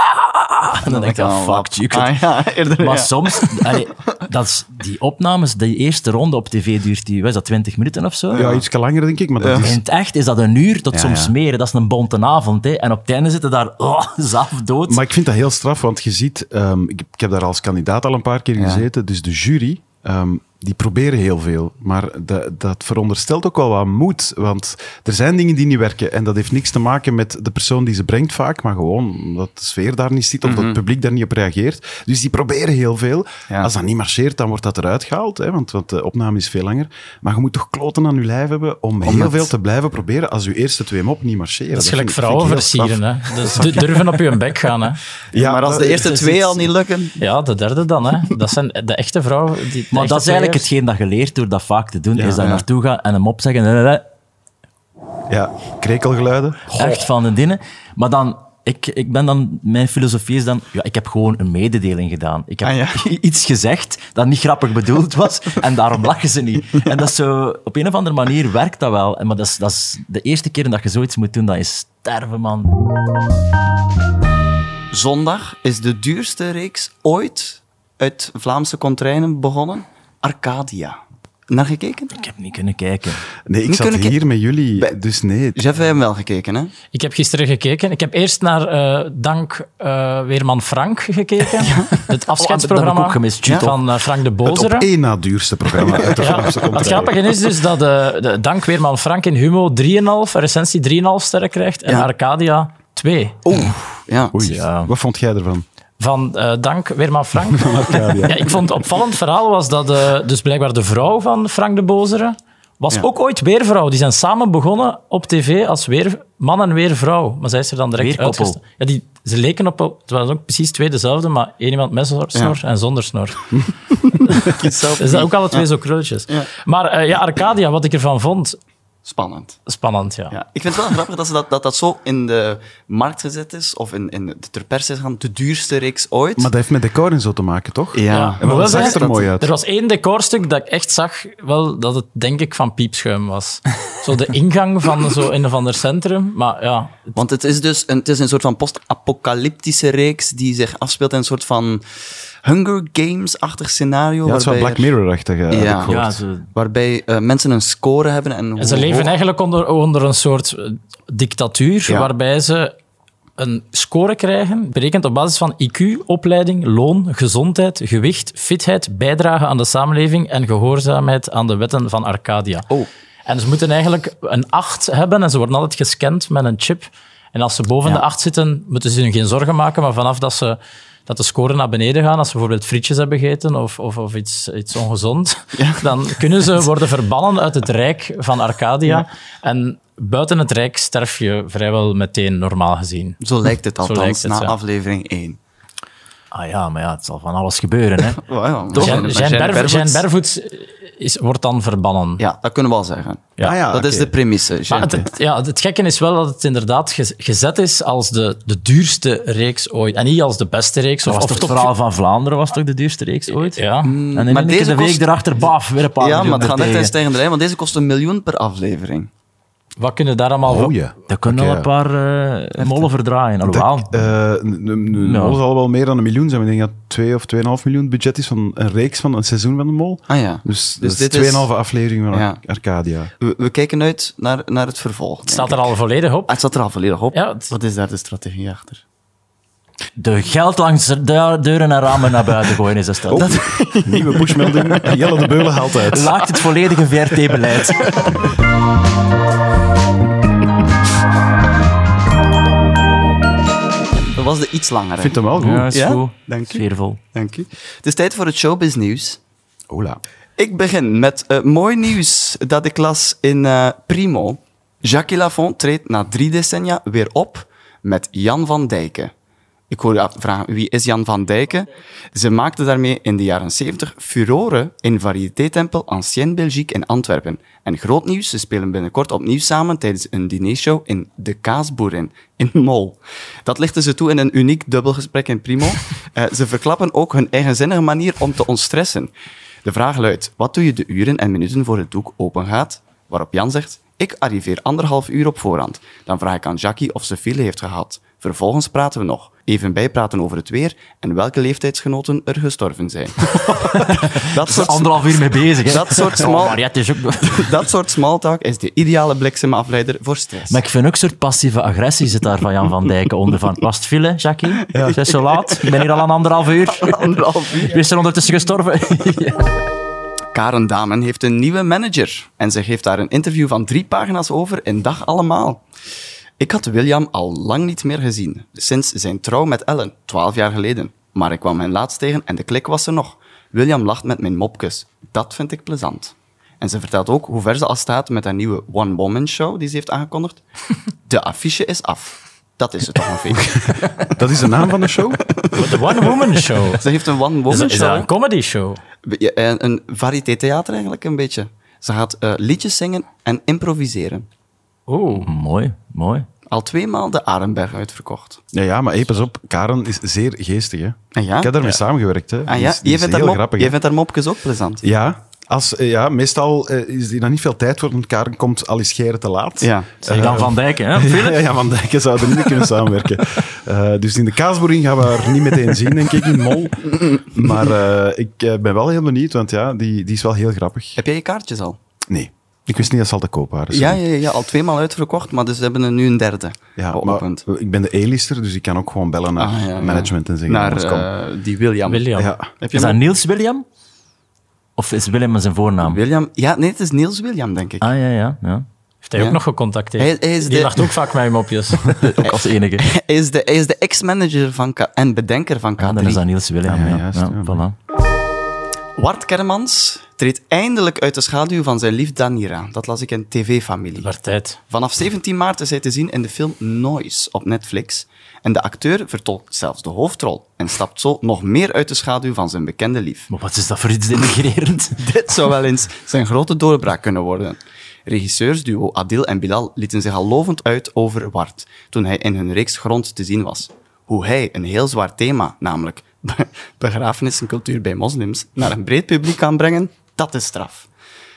C: En dan denk ik, ah, fuck you.
B: Ah, ja, eerder,
C: Maar
B: ja.
C: soms, allee, dat is, die opnames, die eerste ronde op tv duurt die, wat is dat, 20 minuten of zo?
D: Ja, iets langer, denk ik, maar dat
C: In
D: is...
C: het echt is dat een uur tot
D: Ja,
C: soms
D: ja.
C: meer. hè. Dat is een bonte avond. Hè. En op het einde zitten daar oh, zaf dood.
D: Maar ik vind dat heel straf, want je ziet... ehm, ik, ik heb daar als kandidaat al een paar keer gezeten, dus de jury... ehm, die proberen heel veel, maar da- dat veronderstelt ook wel wat moed. Want er zijn dingen die niet werken. En dat heeft niks te maken met de persoon die ze brengt vaak, maar gewoon omdat de sfeer daar niet zit of dat het publiek daar niet op reageert. Dus die proberen heel veel.
B: Mhm. Ja.
D: Als dat niet marcheert, dan wordt dat eruit gehaald, hè, want, want de opname is veel langer. Maar je moet toch kloten aan je lijf hebben om, heel
B: het-
D: veel te blijven proberen als je eerste twee mop niet marcheren.
F: Dat is
D: vind
F: gelijk
D: ik- vind ik
F: vrouwen
D: heel straf.
F: versieren. Hè. Dus du- durven op je bek gaan. Hè.
D: Ja, eh,
B: maar als de
D: dat-
B: eerste
F: eh, is
B: twee
F: iets-
B: al niet lukken...
F: Ja, de derde dan. Hè. Dat zijn de echte vrouwen. Die, de
C: Maar
F: echte
C: dat is eigenlijk
F: players.
C: hetgeen dat je leert door dat vaak te doen,
D: Ja.
C: is daar
D: Ja.
C: naartoe gaan en hem opzeggen. eh, eh, eh,
D: Ja, krekelgeluiden.
C: Echt van de dingen. Maar dan, ik, ik ben dan, mijn filosofie is dan, ja, ik heb gewoon een mededeling gedaan. Ik heb
B: Ah, ja.
C: i- iets gezegd dat niet grappig bedoeld was en daarom lachen ze niet. En dat is zo, op een of andere manier werkt dat wel. En Maar dat is, dat is de eerste keer dat je zoiets moet doen, dat is sterven, man.
B: Zondag is de duurste reeks ooit uit Vlaamse contrainen begonnen. Arcadia. Naar gekeken?
C: Ik heb niet kunnen kijken.
D: Nee, ik
B: Nu
D: zat
B: kunnen ik-
D: hier met jullie,
B: Bij-
D: dus nee.
B: Jeff, wij hebben wel gekeken, hè?
F: Ik heb gisteren gekeken. Ik heb eerst naar eh, Dank eh, Weerman Frank gekeken. Het
C: Oh, dat
F: afscheidsprogramma
C: heb ik ook gemist, Juto.
F: van eh, Frank de
D: Het op
F: Bozere.
D: één na duurste programma uit de Vlaamse
F: Het
D: contraien.
F: grappige is dus dat eh, de Dank Weerman Frank in Humo 3,5, recensie 3,5 sterren krijgt en
B: Ja.
F: Arcadia 2.
B: Oeh, ja.
D: Oei, wat vond jij ervan?
F: Van eh, Dank Weerman Frank. ja, ik vond het opvallend verhaal was dat eh, dus blijkbaar de vrouw van Frank de Bozere was
B: Ja.
F: ook ooit weervrouw. Die zijn samen begonnen op tv als weer, man en weervrouw. Maar zij is er dan direct
C: Weerkoppel.
F: uitgestapt. Ja, die, ze leken op... Het waren ook precies twee dezelfde, maar één iemand met snor snor en zonder snor. Is dat ook alle twee zo krulletjes. Maar eh, ja, Arcadia, wat ik ervan vond...
B: Spannend.
F: Spannend, ja.
B: Ja. Ik vind het wel grappig dat, ze dat, dat dat zo in de markt gezet is, of in, in de ter pers is gaan, de duurste reeks ooit.
D: Maar dat heeft met decor en zo te maken, toch?
B: ja.
D: En
F: Hoewel
D: dat zag
F: zij-
D: er mooi uit.
F: Er was één decorstuk dat ik echt zag wel, dat het denk ik van piepschuim was. Zo de ingang van zo een of ander centrum. Maar ja,
B: Want het is dus een, het is een soort van post-apocalyptische reeks die zich afspeelt in een soort van Hunger Games-achtig scenario.
D: Ja, het is wel
B: waarbij
D: Black
B: er-
D: Mirror-achtig. eh, heb
B: Ja.
D: ik gehoord.
C: Ja, zo,
B: Waarbij eh, mensen een score hebben en hoe
F: En ze leven
B: hoog-
F: eigenlijk onder, onder een soort eh, dictatuur,
B: Ja.
F: waarbij ze een score krijgen, berekend op basis van IQ, opleiding, loon, gezondheid, gewicht, fitheid, bijdrage aan de samenleving en gehoorzaamheid aan de wetten van Arcadia.
B: Oh.
F: En ze moeten eigenlijk een 8 hebben en ze worden altijd gescand met een chip. En als ze boven
B: Ja.
F: de 8 zitten, moeten ze hun geen zorgen maken, maar vanaf dat ze dat de score naar beneden gaan, als ze bijvoorbeeld frietjes hebben gegeten of, of, of iets, iets ongezond, dan kunnen ze worden verbannen uit het Rijk van Arcadia. En buiten het Rijk sterf je vrijwel meteen, normaal gezien.
B: Zo lijkt het althans,
F: lijkt het,
B: na
F: ja.
B: aflevering 1.
C: ah ja, maar ja, het zal van alles gebeuren, hè.
B: Wow,
F: Jean- Jean Bervo- Jean Bervoets is, wordt dan verbannen.
B: Ja, dat kunnen we al zeggen.
F: Ja.
D: Ah, ja,
B: dat is
D: oké.
B: de premisse.
F: Maar
B: Jean.
F: het, het- ja, het gekke is wel dat het inderdaad gez- gezet is als de, de duurste reeks ooit. En niet als de beste reeks. Of,
C: was
F: of
C: toch het
F: top-
C: verhaal van Vlaanderen was toch de duurste reeks ooit? Hmm.
F: Ja.
C: En in
B: Eh, maar
C: één
B: deze
C: keer de week
B: kost-
C: erachter, baf, weer een paar
B: ja,
C: miljoen
B: maar het gaat echt
C: ertegen.
B: een stijgende lijn, want deze kost een miljoen per aflevering.
F: Wat kunnen daar allemaal
D: Oh ja.
C: Dat kunnen
D: Oké,
C: al
D: ja.
C: een paar eh, mollen verdraaien. Alhoewel,
D: Eh, n- n- n-
C: Ja.
D: De mol zal wel meer dan een miljoen zijn. Ik denk dat 2 of 2,5 miljoen budget is van een reeks van een seizoen van de mol.
B: Ah ja.
D: Dus,
B: Dus
D: dit
B: dit is-
D: is 2,5 afleveringen van
B: Ja.
D: Ar- Arcadia.
B: We, we kijken uit naar, naar het vervolg.
F: Het staat er al volledig op.
B: Ah, het staat er al volledig op.
F: Ja, het-
B: Wat is daar de strategie achter?
C: de geld langs de deuren en ramen naar buiten gooien is dat stel. Dat
D: Nieuwe pushmelding. Jelle de Beulen haalt uit.
C: laakt het volledige VRT-beleid.
B: Dat was de iets langere.
D: Ik vind hem wel goed.
C: Ja, is
B: Ja?
C: goed.
B: Dank u.
C: Sfeervol.
B: Dank u. Het is tijd voor het showbiz nieuws.
D: Ola.
B: Ik begin met eh, mooi nieuws dat ik las in eh, Primo. Jacques Lafont treedt na drie decennia weer op met Jan van Dijken. Ik hoor je af- vragen, wie is Jan van Dijken? Ze maakte daarmee in de jaren 70 furore in variété-tempel Ancien Belgique in Antwerpen. En groot nieuws, ze spelen binnenkort opnieuw samen tijdens een dinershow in De Kaasboerin in Mol. Dat lichten ze toe in een uniek dubbelgesprek in Primo. Eh, ze verklappen ook hun eigenzinnige manier om te ontstressen. De vraag luidt, wat doe je de uren en minuten voor het doek open gaat? Waarop Jan zegt, ik arriveer anderhalf uur op voorhand. Dan vraag ik aan Jackie of ze file heeft gehad. Vervolgens praten we nog even bijpraten over het weer en welke leeftijdsgenoten er gestorven zijn. dat soort
C: Anderhalf uur mee bezig. hè.
B: Dat soort
C: Oh,
B: smal-
C: Mariette is ook...
B: dat soort smalltalk is de ideale bliksemafleider voor stress.
C: Maar ik vind ook een soort passieve agressie zit daar van Jan van Dijken onder. Van, was het file, Jackie? Het is zo laat. Ik ben hier al een anderhalf uur.
B: Anderhalf uur.
C: Wees er ondertussen gestorven.
B: Karen Damen heeft een nieuwe manager en ze geeft daar een interview van drie pagina's over in Dag Allemaal. Ik had William al lang niet meer gezien, sinds zijn trouw met Ellen, twaalf jaar geleden. Maar ik kwam hen laatst tegen en de klik was er nog. William lacht met mijn mopjes. Dat vind ik plezant. En ze vertelt ook hoe ver ze al staat met haar nieuwe One Woman Show die ze heeft aangekondigd. De affiche is af. Dat is het toch een feest.
D: Dat is de naam van de show?
F: De One Woman Show.
B: Ze heeft een One
F: Is,
B: Woman
F: dat- is dat
B: Show.
F: een comedy show?
B: Ja, Een, een variété theater eigenlijk een beetje. Ze gaat eh, liedjes zingen en improviseren.
F: Oeh.
C: mooi, mooi.
B: Al tweemaal de Arenberg uitverkocht.
D: Ja, ja maar hey, pas op. Karen is zeer geestig, hè.
B: Ah, ja?
D: Ik heb daarmee samengewerkt, hè.
B: Ah
D: Die
B: ja,
D: is- die
B: jij
D: is
B: vindt, haar
D: heel
B: mop,
D: grappig,
B: jij
D: hè.
B: vindt haar mopjes ook plezant.
D: Ja, als, eh, ja meestal eh, is die dan niet veel tijd voor, want Karen komt al eens scheren te laat.
B: Ja.
C: Zeg dan Van Dijken, hè?
D: Ja, ja, Van Dijken zou er niet mee kunnen samenwerken. Eh, dus in de kaasboering gaan we haar niet meteen zien, denk ik, in Mol. Maar eh, ik eh, ben wel heel benieuwd, want ja, die, die is wel heel grappig.
B: Heb jij je kaartjes al?
D: Nee, ik wist niet dat ze al te koop waren.
B: Ja,
D: sorry.
B: ja, ja, ja, al tweemaal uitverkocht, maar dus ze hebben er nu een derde
D: Ja,
B: geopend.
D: maar ik ben de E-lister, dus ik kan ook gewoon bellen naar
B: Ah, ja, ja.
D: management en zeggen...
B: Naar
D: jongens, kom.
B: eh, die William.
F: William.
D: ja.
B: Heb je
C: Is
B: hem
C: dat
B: ook?
C: Niels William? Of is Willem zijn voornaam?
B: William? Ja, nee, het is Niels William, denk ik.
C: Ah, ja, ja. ja.
F: Heeft hij
B: Ja.
F: ook nog gecontacteerd?
B: Hij- hij is
F: Die
B: de-
F: lacht ook vaak met hem dus. opjes.
C: Ook als enige.
B: Hij is de, hij is de ex-manager van K- en bedenker van K3.
C: Ja, dan is Ah, dat Niels William,
D: Ah, ja,
C: ja.
D: juist,
C: Ja,
D: ja.
C: voilà.
B: Wart Kermans treedt eindelijk uit de schaduw van zijn lief Danira. Dat las ik in TV-familie.
F: Maar tijd.
B: Vanaf 17 maart is hij te zien in de film Noise op Netflix. En de acteur vertolkt zelfs de hoofdrol en stapt zo nog meer uit de schaduw van zijn bekende lief.
C: Maar wat is dat voor iets denigrerend?
B: Dit zou wel eens zijn grote doorbraak kunnen worden. Regisseursduo Adil en Bilal lieten zich al lovend uit over Wart toen hij in hun reeks Grond te zien was. Hoe hij een heel zwaar thema, namelijk be- begrafenissencultuur bij moslims, naar een breed publiek kan brengen, dat is straf.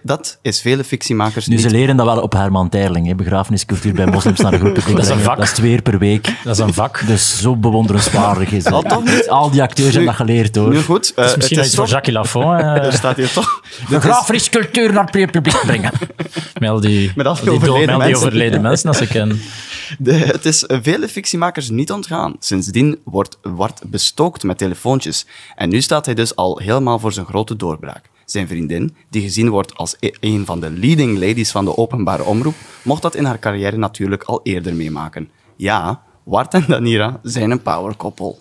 B: Dat is vele fictiemakers
C: Nu,
B: niet
C: ze leren dat wel op Herman Terling, hè? begrafeniscultuur bij moslims naar de groepen.
F: Dat is een vak.
C: Dat is twee keer per week.
F: Dat is een vak.
C: Dus zo bewonderenswaardig is
B: Al
C: dat.
B: toch niet?
C: Al die acteurs
B: Nu-
C: hebben dat geleerd, hoor.
B: Nu goed, eh,
F: Dat is misschien
B: het
F: iets voor
B: toch- Dus-
F: Jacques Lafont. eh,
B: Er staat hier toch.
C: De grafeniscultuur naar het publiek brengen.
F: Met al die,
B: Met al die
F: die dood-
B: overleden
F: met al die
B: mensen.
F: overleden mensen dat ze kennen.
B: De- het is vele fictiemakers niet ontgaan. Sindsdien wordt Wart bestookt met telefoontjes. En nu staat hij dus al helemaal voor zijn grote doorbraak. Zijn vriendin, die gezien wordt als e- een van de leading ladies van de openbare omroep, mocht dat in haar carrière natuurlijk al eerder meemaken. Ja, Wart en Danira zijn een powerkoppel.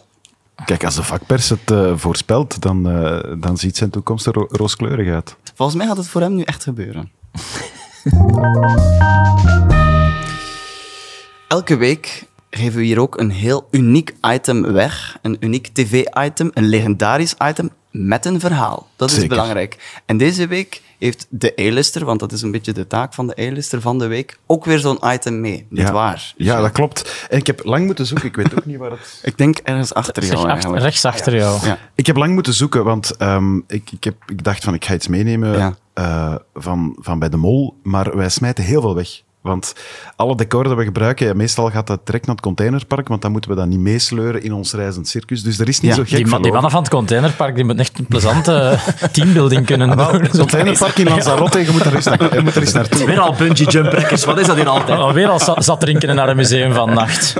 D: Kijk, als de vakpers het eh, voorspelt, dan, eh, dan ziet zijn toekomst er ro- rooskleurig uit.
B: Volgens mij gaat het voor hem nu echt gebeuren. Elke week geven we hier ook een heel uniek item weg. Een uniek tv-item, een legendarisch item met een verhaal. Dat is
D: Zeker.
B: belangrijk. En deze week heeft de A-lister, want dat is een beetje de taak van de A-lister van de week, ook weer zo'n item mee. Niet
D: ja.
B: waar?
D: Ja, dat klopt. En ik heb lang moeten zoeken, ik weet ook niet waar het...
B: Ik denk ergens achter
F: Zeg,
B: jou
F: achter-
B: eigenlijk.
F: rechts achter jou.
B: Ja.
D: Ik heb lang moeten zoeken, want ehm, ik, ik, heb, ik dacht van ik ga iets meenemen
B: Ja.
D: eh, van, van bij de mol, maar wij smijten heel veel weg. Want alle decor dat we gebruiken, ja, meestal gaat dat direct naar het containerpark, want dan moeten we dat niet meesleuren in ons reizend circus. Dus er is niet
B: Ja,
D: zo gek
F: Die, ma-
D: veel
F: die mannen van het containerpark die moeten echt een plezante teambuilding
B: Ah,
F: kunnen
D: over. Wel,
F: doen.
D: het containerpark in Lanzarote, je moet er eens, naar, je moet er eens naartoe.
C: Weer al bungee jumprekkers. Wat is dat hier altijd?
F: Oh, Weer al zat, zat drinken naar een museum van nacht.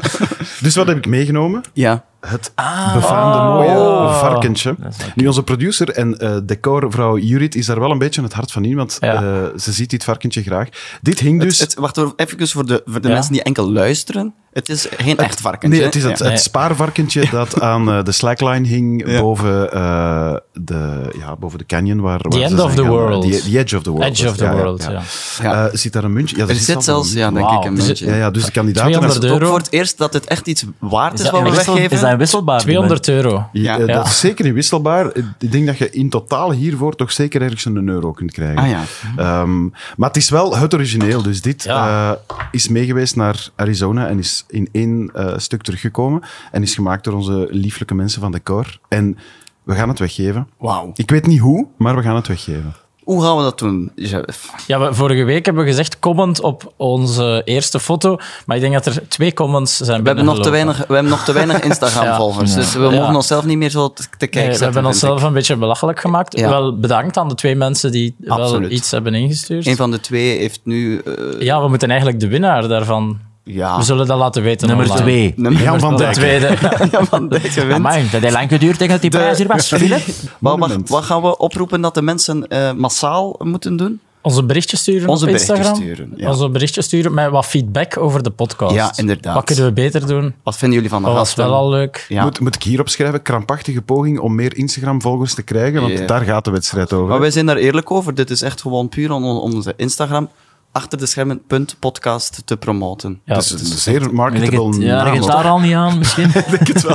D: Dus wat heb ik meegenomen?
B: ja.
D: Het
F: Ah.
D: befaamde
F: Oh,
D: mooie varkentje. Nu, onze producer en eh, decorvrouw Judith is daar wel een beetje het hart van in, want
F: Ja.
D: eh, ze ziet dit varkentje graag. Dit hing dus...
B: Het, wacht even voor de, voor de
F: Ja.
B: mensen die enkel luisteren. Het is geen echt varkentje.
D: Nee, het
B: hè?
D: is het,
B: Ja.
D: het
F: Nee.
D: spaarvarkentje dat aan eh, de slackline hing boven, eh, de, ja, boven de canyon. Waar, waar ze
F: end
D: zijn
F: of the
D: gaan.
F: world.
D: The, the edge of the world.
F: Edge of the
D: Ja, ja,
F: world,
D: ja.
F: ja.
B: Ja.
D: Eh, zit daar een muntje? Ja,
B: Er zit
D: al
B: zelfs,
D: een
B: ja,
D: muntje.
B: denk
F: Wauw.
B: ik, een
F: Dus
B: muntje.
D: Ja, ja, dus de kandidaten...
F: 200
B: Het
D: als-
B: is ook
F: euro.
B: voor het eerst dat het echt iets waard is,
F: dat
B: wat we
F: een wissel?
B: weggeven.
C: Is dat een wisselbaar?
F: 200 euro.
D: Ja, eh,
B: Ja.
D: Dat is zeker niet wisselbaar. Eh, Ik denk dat je in totaal hiervoor toch zeker ergens een euro kunt krijgen.
B: Ah, ja.
D: Ehm, maar het is wel het origineel. Dus dit
F: Ja.
D: eh, is meegeweest naar Arizona en is in één eh, stuk teruggekomen. En is gemaakt door onze lieflijke mensen van Decor. En we gaan het weggeven.
B: Wauw.
D: Ik weet niet hoe, maar we gaan het weggeven.
B: Hoe gaan we dat doen, Jeff?
F: Ja, we, vorige week hebben we gezegd comment op onze eerste foto. Maar ik denk dat er twee comments zijn
B: We hebben, nog te weinig, we hebben nog te weinig
F: Ja.
B: Instagram-volgers, dus we mogen
F: Ja.
B: onszelf niet meer zo te, te kijken
F: Nee, Eh, we
B: zetten,
F: hebben
B: vind ik.
F: onszelf een beetje belachelijk gemaakt.
B: Ja.
F: Wel bedankt aan de twee mensen die wel
B: Absoluut.
F: iets hebben ingestuurd.
B: Een van de twee heeft nu... eh,
F: Ja, we moeten eigenlijk de winnaar daarvan.
B: ja,
F: We zullen dat laten weten.
C: Nummer
F: online.
C: twee.
B: Ah. nummer
D: Jan van
F: De
D: Dijk.
F: tweede.
B: Ja, van Dijk gewint.
C: Amai, dat heeft lang geduurd tegen dat die prijs hier was, Philip.
B: Wat, wat,
D: Monument.
B: wat gaan we oproepen dat de mensen eh, massaal moeten doen?
F: Onze berichtjes sturen
B: Onze
F: op
B: berichtjes
F: Instagram.
B: sturen, ja.
F: Onze berichtjes sturen met wat feedback over de podcast.
B: Ja, inderdaad.
F: Wat kunnen we beter doen?
B: Wat vinden jullie van de
F: Dat was
B: gasten?
F: wel al leuk.
B: Ja.
D: Moet, moet ik hierop schrijven? Krampachtige poging om meer Instagram-volgers te krijgen? Want
B: Ja.
D: daar gaat de wedstrijd over.
B: Maar wij zijn daar eerlijk over. Dit is echt gewoon puur om on- onze Instagram achter de schermen punt podcast te promoten.
F: Ja,
D: het is een zeer marketable
C: het, ja,
D: naam.
C: leg het
D: hoor.
C: daar al niet aan, misschien.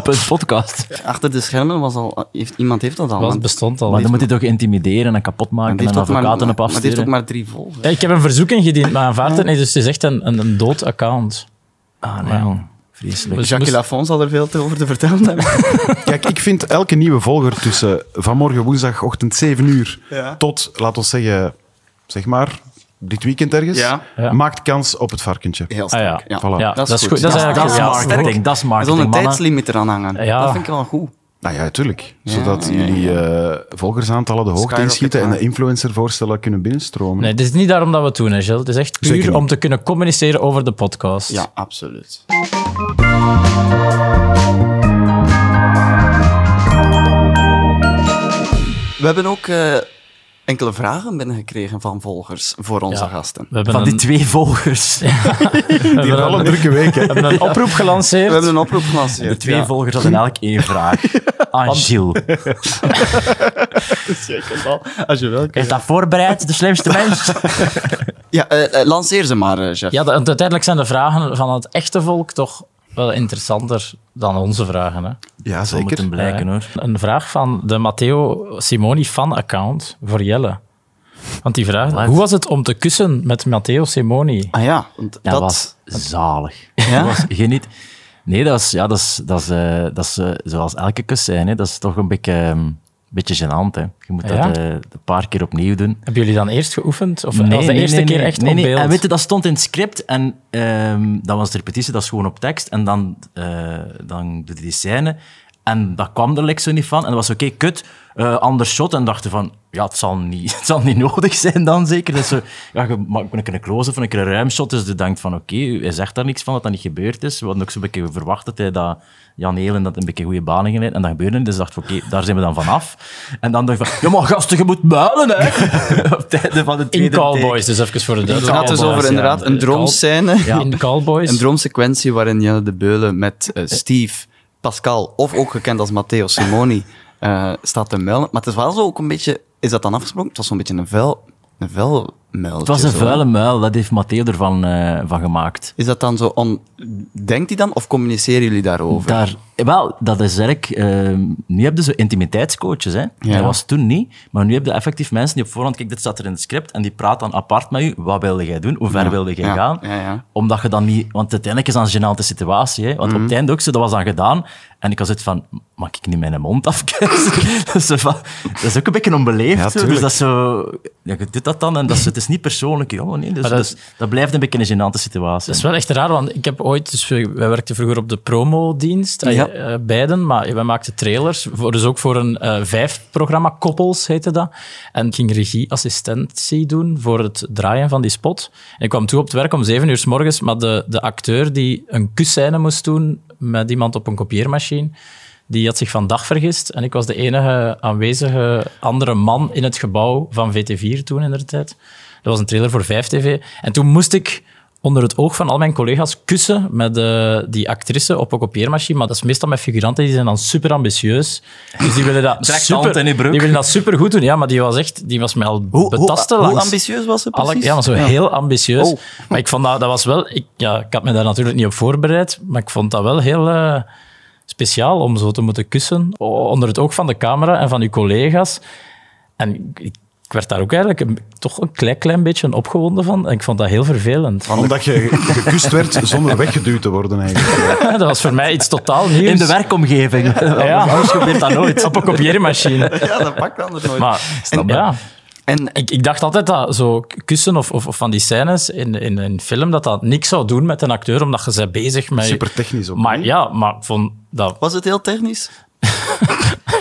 C: Punt podcast.
B: Achter de schermen was al... Heeft, iemand heeft dat al.
F: was
B: hè?
F: bestond al.
C: Maar dan moet hij toch intimideren en kapot
B: En
C: maken
B: die
C: en
B: heeft ook maar,
C: advocaten op
B: maar die heeft ook
C: afsturen.
B: maar drie volgers.
F: Ja, Ik heb een verzoek ingediend, maar aanvaardt het niet. Dus het is echt een, een, een dood account.
C: Ah, nee, man. Vreselijk.
F: Dus
B: Jacques
F: moest-
B: Lafon zal er veel te over te vertellen hebben.
D: Kijk, ik vind elke nieuwe volger tussen vanmorgen woensdagochtend 7 uur
B: Ja.
D: tot, laten we zeggen, zeg maar, dit weekend ergens,
B: Ja.
F: Ja.
D: maakt kans op het varkentje.
B: Heel
F: Ah, ja.
B: sterk. ja.
D: Voilà.
F: Ja,
B: dat
F: dat
B: is
F: is
B: goed.
F: goed. Dat is
B: Ja,
F: eigenlijk
B: dat is
F: ja,
B: marketing.
F: sterk.
C: Marketing, dat is
B: Er zal
C: marketing,
B: een
C: mannen.
B: tijdslimiet eraan hangen.
F: Ja.
B: Dat vind ik wel goed.
D: Nou ja, tuurlijk.
B: Ja,
D: Zodat
B: ja,
D: jullie eh, volgersaantallen de hoogte
B: Skyrocket
D: inschieten en de
B: gaan.
D: influencervoorstellen kunnen binnenstromen.
F: Nee, het is niet daarom dat we het doen, hè, Gilles. Het is echt
D: Zeker
F: puur
D: niet.
F: om te kunnen communiceren over de podcast.
B: Ja, absoluut. We hebben ook eh, enkele vragen binnengekregen van volgers voor onze
F: Ja.
B: gasten.
F: We hebben
C: Van die
F: een-
C: twee volgers.
F: we
D: Die
F: hebben
D: al een
F: een-
D: drukke week, hè.
F: we hebben een oproep
B: We
F: gelanceerd.
B: hebben een oproep gelanceerd.
C: De twee
B: ja.
C: volgers hadden elk één vraag. Aan Gilles.
B: Als je wil.
C: Is dat voorbereid, de slimste mens?
B: Ja, eh, eh, lanceer ze maar, eh, Jeff.
F: Ja, de- uiteindelijk zijn de vragen van het echte volk toch wel interessanter dan onze vragen. Hè?
D: Ja,
C: Dat moet
D: zeker.
C: hem blijken, hoor.
F: Een vraag van de Matteo Simoni fan-account voor Jelle. Want die vraagt,
C: Wat?
F: hoe was het om te kussen met Matteo Simoni?
B: Ah ja, want
C: Dat
B: dat...
C: was zalig.
B: Ja?
C: Dat was geniet. Nee, dat is, ja, dat is, dat is, eh, dat is eh, zoals elke kus zijn. Hè. Dat is toch een beetje, ehm, beetje gênant. Hè. Je moet
F: Ja?
C: dat eh, een paar keer opnieuw doen.
F: Hebben jullie dan eerst geoefend? Of was de eerste
C: nee,
F: keer
C: nee,
F: echt
C: nee,
F: op
C: nee.
F: beeld?
C: En weet je, dat stond in het script en ehm dat was de repetitie, dat is gewoon op tekst. En dan, eh dan doet hij die scène en dat kwam er like zo niet van. En dat was oké, kut, eh ander shot. En dachten van, ja, het zal niet, het zal niet nodig zijn dan zeker. Dus zo, ja, je maakt een keer een close-up of een keer een ruim shot. Dus je denkt van, oké, hij zegt daar niks van, dat dat niet gebeurd is. We hadden ook zo'n beetje verwacht dat hij dat... Jan Helen dat een beetje goede banen geleid. En dat gebeurde het. Dus dacht ik, oké, daar zijn we dan vanaf. En dan dacht ik van, ja maar gasten, je moet builen, hè. op het einde van de
F: In
C: tweede take.
F: Callboys, dus even voor de
B: Het gaat dus
F: Callboys,
B: over
F: ja.
B: inderdaad een droomscène.
F: Call- In Callboys.
B: Een droomsequentie waarin Jelle de Beulen met eh, Steve, Pascal, of ook gekend als Matteo Simoni, eh, staat te melden. Maar het is wel zo ook een beetje... Is dat dan afgesproken? Het was zo'n beetje een vuil... Een vuil
C: Het was een vuile muil, dat heeft Matteo ervan eh, van gemaakt.
B: Is dat dan zo... On... Denkt hij dan? Of communiceren jullie daarover?
C: Daar, eh, wel, dat is eigenlijk... eh, nu heb je zo intimiteitscoaches, hè.
B: Ja.
C: Dat was toen niet. Maar nu heb je effectief mensen die op voorhand... Kijk, dit staat er in het script. En die praat dan apart met je. Wat wilde jij doen? Hoe ver wilde jij
B: Ja.
C: gaan?
B: Ja, ja.
C: Omdat je dan niet... Want uiteindelijk is dat een gênante situatie, hè. Want op het einde ook, zo, dat was dan gedaan. En ik was het van... Mag ik niet mijn mond afkijken? dat, is zo van- dat is ook een beetje onbeleefd.
D: Ja,
C: zo. dus
D: tuurlijk.
C: dat is zo... Ja, je doet dat dan. En dat is, het is niet persoonlijk, joh. Nee, dus,
F: dat-
C: dus dat blijft een beetje een gênante situatie.
F: Dat is wel echt raar, want ik heb ooit... Dus we- wij werkten vroeger op de promodienst, eh,
B: Ja.
F: eh, beiden, maar wij maakten trailers, voor, dus ook voor een eh, vijf programma, Koppels heette dat. En ik ging regieassistentie doen voor het draaien van die spot. En ik kwam toe op het werk om zeven uur s morgens, maar de, de acteur die een kusscène moest doen met iemand op een kopieermachine, die had zich van dag vergist. En ik was de enige aanwezige andere man in het gebouw van VT4 toen in de tijd. Dat was een trailer voor 5TV. En toen moest ik onder het oog van al mijn collega's kussen met eh, die actrice op een kopieermachine. Maar dat is meestal met figuranten, die zijn dan super ambitieus. Dus die willen dat,
C: Trekt hand
F: super,
C: in die broek.
F: die willen dat super goed doen. Ja, maar die was echt, die was mij al
B: Hoe, hoe,
F: betasten
B: hoe
F: langs
B: ambitieus was het
F: alle-
B: precies?
F: ja, maar zo heel ambitieus.
B: Oh.
F: Maar ik vond dat, dat was wel... Ik, ja, ik had me daar natuurlijk niet op voorbereid, maar ik vond dat wel heel eh, speciaal om zo te moeten kussen. o- Onder het oog van de camera en van uw collega's. En ik, ik werd daar ook eigenlijk een- toch een klein, klein beetje opgewonden van. En ik vond dat heel vervelend.
D: Omdat je gekust werd zonder weggeduwd te worden, eigenlijk.
F: dat was voor mij iets totaal nieuws.
C: In de werkomgeving.
F: Ja.
C: Anders gebeurt dat nooit.
F: Op een kopieermachine.
B: Ja, dat pakt anders nooit.
F: Maar,
B: En-
F: ja.
B: En En
F: Ik, ik dacht altijd dat zo kussen of, of, of van die scènes in, in een film, dat dat niks zou doen met een acteur, omdat je zij bezig met...
D: Super technisch ook.
F: Maar
D: hè?
F: ja, maar ik vond dat...
B: was het heel technisch?